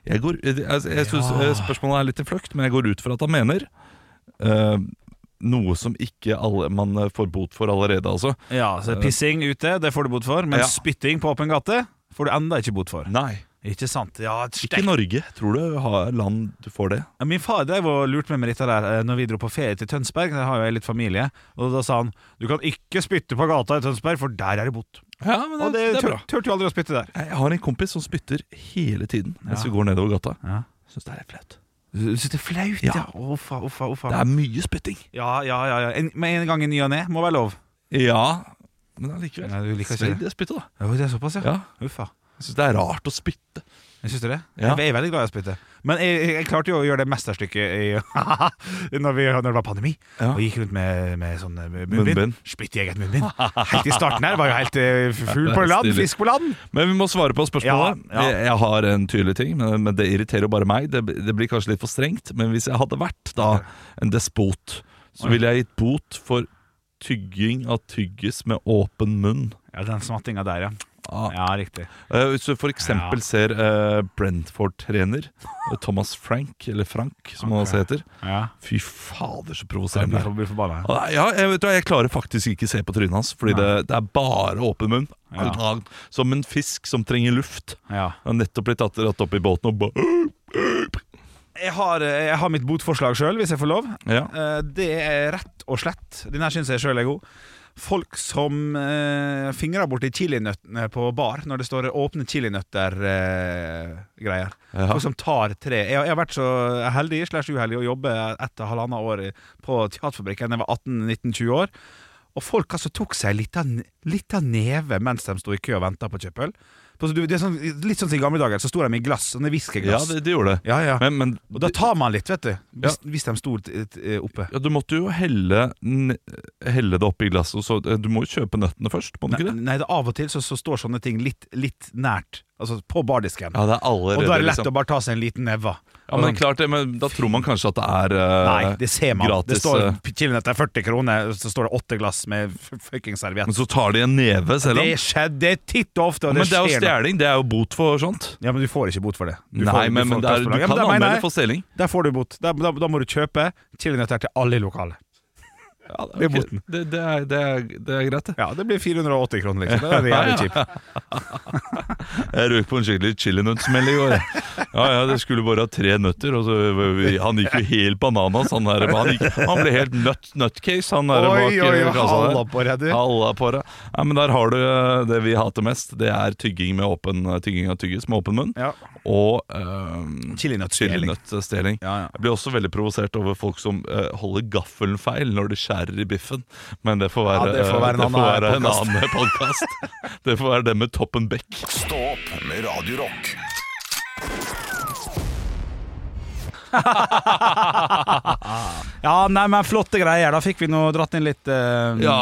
S2: Jeg, går, eh, jeg, jeg syns
S1: Ja.
S2: spørsmålet er litt i fløkt, men jeg går ut fra at han mener eh, noe som ikke alle, man eh, får bot for allerede, altså.
S1: Ja, så pissing ute, det får du bot for. Men
S2: Ja.
S1: spytting på åpen gate får du enda ikke bot for.
S2: Nei.
S1: Ikke sant? Ja,
S2: Ikke Norge. Tror du har land du får det?
S1: Ja, Min far drev og lurte meg med dette der eh, Når vi dro på ferie til Tønsberg. Der har jo jeg litt familie. Og da sa han du kan ikke spytte på gata i Tønsberg, for der er det bot.
S2: Ja, men
S1: og det,
S2: det er bra.
S1: tur, turte jo aldri å spytte der.
S2: Jeg har en kompis som spytter hele tiden mens
S1: Ja.
S2: vi går nedover gata.
S1: Ja.
S2: Syns det er litt flaut.
S1: Syns det er flaut,
S2: Ja.
S1: ja. Uffa, uffa, uffa.
S2: Det er mye spytting.
S1: Ja, ja, ja, ja. En, med en gang i ny og ne må være lov.
S2: Ja, men allikevel.
S1: Nei, du liker ikke
S2: Svelg
S1: det.
S2: det spyttet, da.
S1: Jo, det er såpass, ja.
S2: Ja.
S1: Uffa.
S2: Jeg syns det er rart å spytte.
S1: Jeg syns det.
S2: Ja.
S1: Jeg er veldig glad i å spytte. Men jeg, jeg, jeg klarte jo å gjøre det mesterstykket i, når, vi, når det var pandemi.
S2: Ja.
S1: Og gikk rundt med, med sånn eh,
S2: Munnbind.
S1: munnbind. Spytt i eget munnbind. Helt i starten her var jo helt eh, fugl
S2: Det
S1: på
S2: er
S1: land,
S2: stilig.
S1: fisk på land.
S2: Men vi må svare på spørsmålet.
S1: Ja, ja.
S2: Jeg, jeg har en tydelig ting, men, men det irriterer jo bare meg. Det, det blir kanskje litt for strengt, men hvis jeg hadde vært da en despot, så ville jeg gitt bot for tygging av tyggis med åpen munn.
S1: Ja, den smattinga der, ja.
S2: Ah.
S1: Ja, riktig.
S2: Eh, Hvis du for eksempel
S1: Ja.
S2: ser eh, Brentford-trener eh, Thomas Frank, eller Frank som han også heter
S1: Ja.
S2: Fy fader, så
S1: Jeg
S2: provoserende.
S1: blir, blir forbanna.
S2: Ah, nei, Ja, jeg, vet du, hva, jeg klarer faktisk ikke se på trynet hans, fordi det, det er bare åpen munn. Ah, Som en fisk som trenger luft.
S1: Ja.
S2: Han har nettopp blitt tatt rett opp i båten og bare «Øh,
S1: Jeg har, eh, jeg har mitt botforslag sjøl, hvis jeg får lov.
S2: Ja.
S1: Eh, Det er rett og slett Den her syns jeg sjøl er god. Folk som eh, fingrer borti chilinøttene på bar når det står 'åpne chilinøtter'-greier.
S2: Ja.
S1: Folk som tar tre. Jeg, jeg har vært så heldig slash uheldig å jobbe ett og halvannet år i- på Teaterfabrikken da jeg var 18-19-20 år. Og folk altså tok seg en liten, liten neve mens de sto i kø og venta på å kjøpe øl. Så du- Det er sånn, litt sånn som i gamle dager, så sto de i glass, sånne
S2: Ja,
S1: whiskyglass.
S2: det, det gjorde det.
S1: Ja, ja.
S2: Men, men
S1: Og da tar man litt, vet du.
S2: Ja.
S1: Hvis, hvis de sto t- t- oppe.
S2: ja, du måtte jo helle, n- helle det oppi glasset, og så eh, Du må jo kjøpe nøttene først, må du
S1: Nei,
S2: ikke det?
S1: nei, det er av og til så, så står sånne ting litt, litt nært. Altså på bardisken.
S2: Ja, det er
S1: og
S2: allerede
S1: da er det lett
S2: liksom.
S1: å bare ta seg en liten neve.
S2: Ja, men klart det, men da tror man kanskje at det er eh,
S1: Um, Nei, det ser man.
S2: gratis
S1: det står
S2: eh,
S1: chilinøtter 40 kroner, så står det åtte glass med f- fucking serviett.
S2: Men så tar de en neve selv om
S1: Det skjedde det er titt og ofte, og
S2: Men
S1: det
S2: det er jo
S1: skjer noe.
S2: stjeling, det er jo bot for sånt.
S1: Ja, men du får ikke bot for det. Du
S2: Nei,
S1: får, du
S2: men,
S1: får
S2: men det er, du
S1: plassforlag. Ja,
S2: kan
S1: men da mener
S2: anmelde
S1: jeg-
S2: for stjeling.
S1: Der får du bot. Da, da, da må du kjøpe chilinøtter til alle i lokalet. Det er
S2: Ok,
S1: boten.
S2: Det, det, er, det, er, det er greit, det.
S1: Ja, det blir 480 kroner, liksom. Det er jævlig kjipt.
S2: Jeg røk på en skikkelig chilinøttsmell i går. jeg. Ja, ja, det skulle bare ha tre nøtter. Og så, han gikk jo helt bananas. Han, der, han, gikk, han ble helt nøtt, nutcase, han
S13: Oi,
S2: der bak
S13: oi, oi,
S2: kassa der.
S13: halla på deg, du.
S2: Halla på deg. Ja, men der har du eh, det vi hater mest. Det er tygging, med åpen, eh, tygging av tyggis med åpen munn. Og um,
S1: chilinøttsteling.
S2: chilinøttsteling. Jeg blir også veldig provosert over folk som eh, holder gaffelen feil når de skjærer i biffen. Men det får være,
S1: Ja, det får være
S2: eh,
S1: en annen
S2: være en
S1: podcast.
S2: annen podkast. det får være det med Toppen Beck.
S14: Stå opp med Radio Rock.
S1: Ja, nei, men flotte greier. Da fikk vi nå dratt inn litt eh,
S2: Ja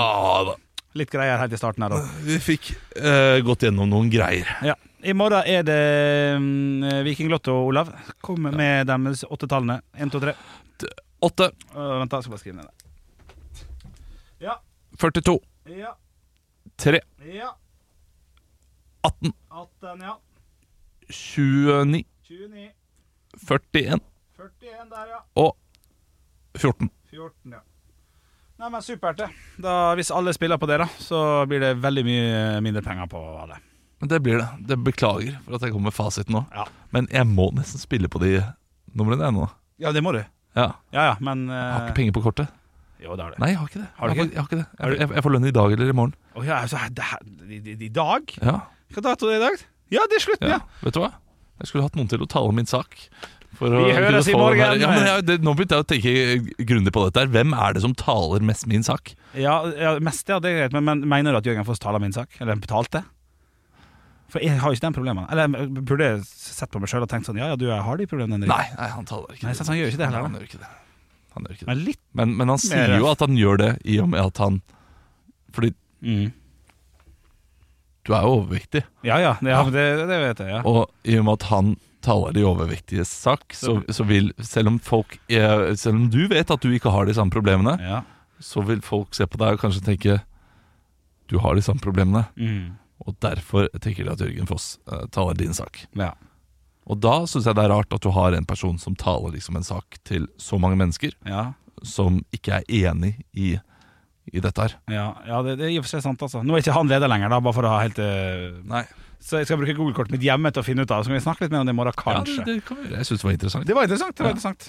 S2: da.
S1: Litt greier helt i starten her, da.
S2: Vi fikk eh, gått gjennom noen greier.
S1: Ja. I morgen er det mm, Viking Lotto, Olav. Kom med de åtte tallene. Én, to, tre.
S2: Åtte.
S1: vent, da. Jeg skal bare skrive ned det.
S2: 42.
S1: Ja.
S2: 3.
S1: Ja.
S2: 18.
S1: 18, ja.
S2: 29.
S1: 29.
S2: 41.
S1: 41 der, ja.
S2: Og 14.
S1: 14, ja. Nei, men supert, det. Da, hvis alle spiller på det, da, så blir det veldig mye mindre penger på alle.
S2: Men det blir det. Det Beklager for at jeg kommer med fasiten nå. Men jeg må nesten spille på de numrene jeg nå.
S1: Ja, det må du.
S2: Ja.
S1: Ja, ja, men eh,
S2: Jeg har ikke penger på kortet.
S1: Jo, det har du.
S2: Nei, jeg har ikke det.
S1: Har du
S2: jeg,
S1: ikke?
S2: Får, jeg har ikke det.
S1: Har du-
S2: Jeg, jeg, jeg får lønn i dag eller i morgen.
S1: Å ja, altså, det, her- i, i, i dag?
S2: Ja.
S1: Hva dato er det i dag? Ja, det er slutten, ja.
S2: Vet du hva? Jeg skulle hatt noen til å tale min sak. For
S1: Vi
S2: kunne
S1: høres i
S2: få den her-
S1: morgen.
S2: Ja, men jeg, det, nå begynte jeg å tenke grundig på dette. her Hvem er det som taler mest min sak?
S1: Ja, ja mest, ja, det er greit. Men, men mener du at Jørgen Foss taler min sak? Eller betalte? For jeg har jo ikke den problemen. Eller jeg burde jeg sett på meg sjøl og tenkt sånn Ja, ja, du jeg har de problemene. Henrik.
S2: Nei, nei, han taler ikke
S1: Nei,
S2: det.
S1: sant, han gjør ikke det
S2: Nei,
S1: heller.
S2: han
S1: da.
S2: gjør ikke det. Han gjør ikke det.
S1: Men litt
S2: Men, men han sier
S1: Mer-
S2: jo at han gjør det i og med at han Fordi
S1: Mm.
S2: Du er jo overvektig.
S1: Ja, ja, det, ja, det, det vet jeg. Ja.
S2: Og i og med at han taler de overvektiges sak, så, så vil Selv om folk eh, Selv om du vet at du ikke har de samme problemene, så vil folk se på deg og kanskje tenke Du har de samme problemene.
S1: Mm.
S2: Og derfor tenker de at Jørgen Foss eh, taler din sak.
S1: Ja.
S2: Og da syns jeg det er rart at du har en person som taler liksom en sak til så mange mennesker,
S1: Ja.
S2: som ikke er enig i, i dette her.
S1: Ja, ja det, det er i og for seg sant, altså. Nå er ikke han leder lenger, da, bare for å ha helt eh, Så jeg skal bruke Google-kortet mitt hjemme til å finne ut av det. Så kan vi snakke litt mer om det i morgen, kanskje.
S2: det, det kan vi gjøre. Jeg syns det var interessant.
S1: Det var interessant. det var
S2: Ja.
S1: interessant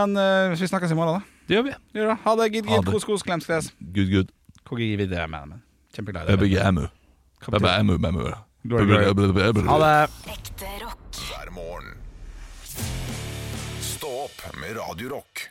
S1: Men eh, vi snakkes i morgen, da.
S2: Det gjør vi.
S1: Gjør det. Ha det. Gid,
S2: Ha
S1: gid,
S2: det.
S1: kos, kos, klems, kles.
S2: Good, good.
S1: Kjempeglad i deg.
S2: ÖBGMU. ÖBGMU, MU.
S1: Glory, glory. Ha det.
S14: Hver morgen. Stå opp med Radio Rock.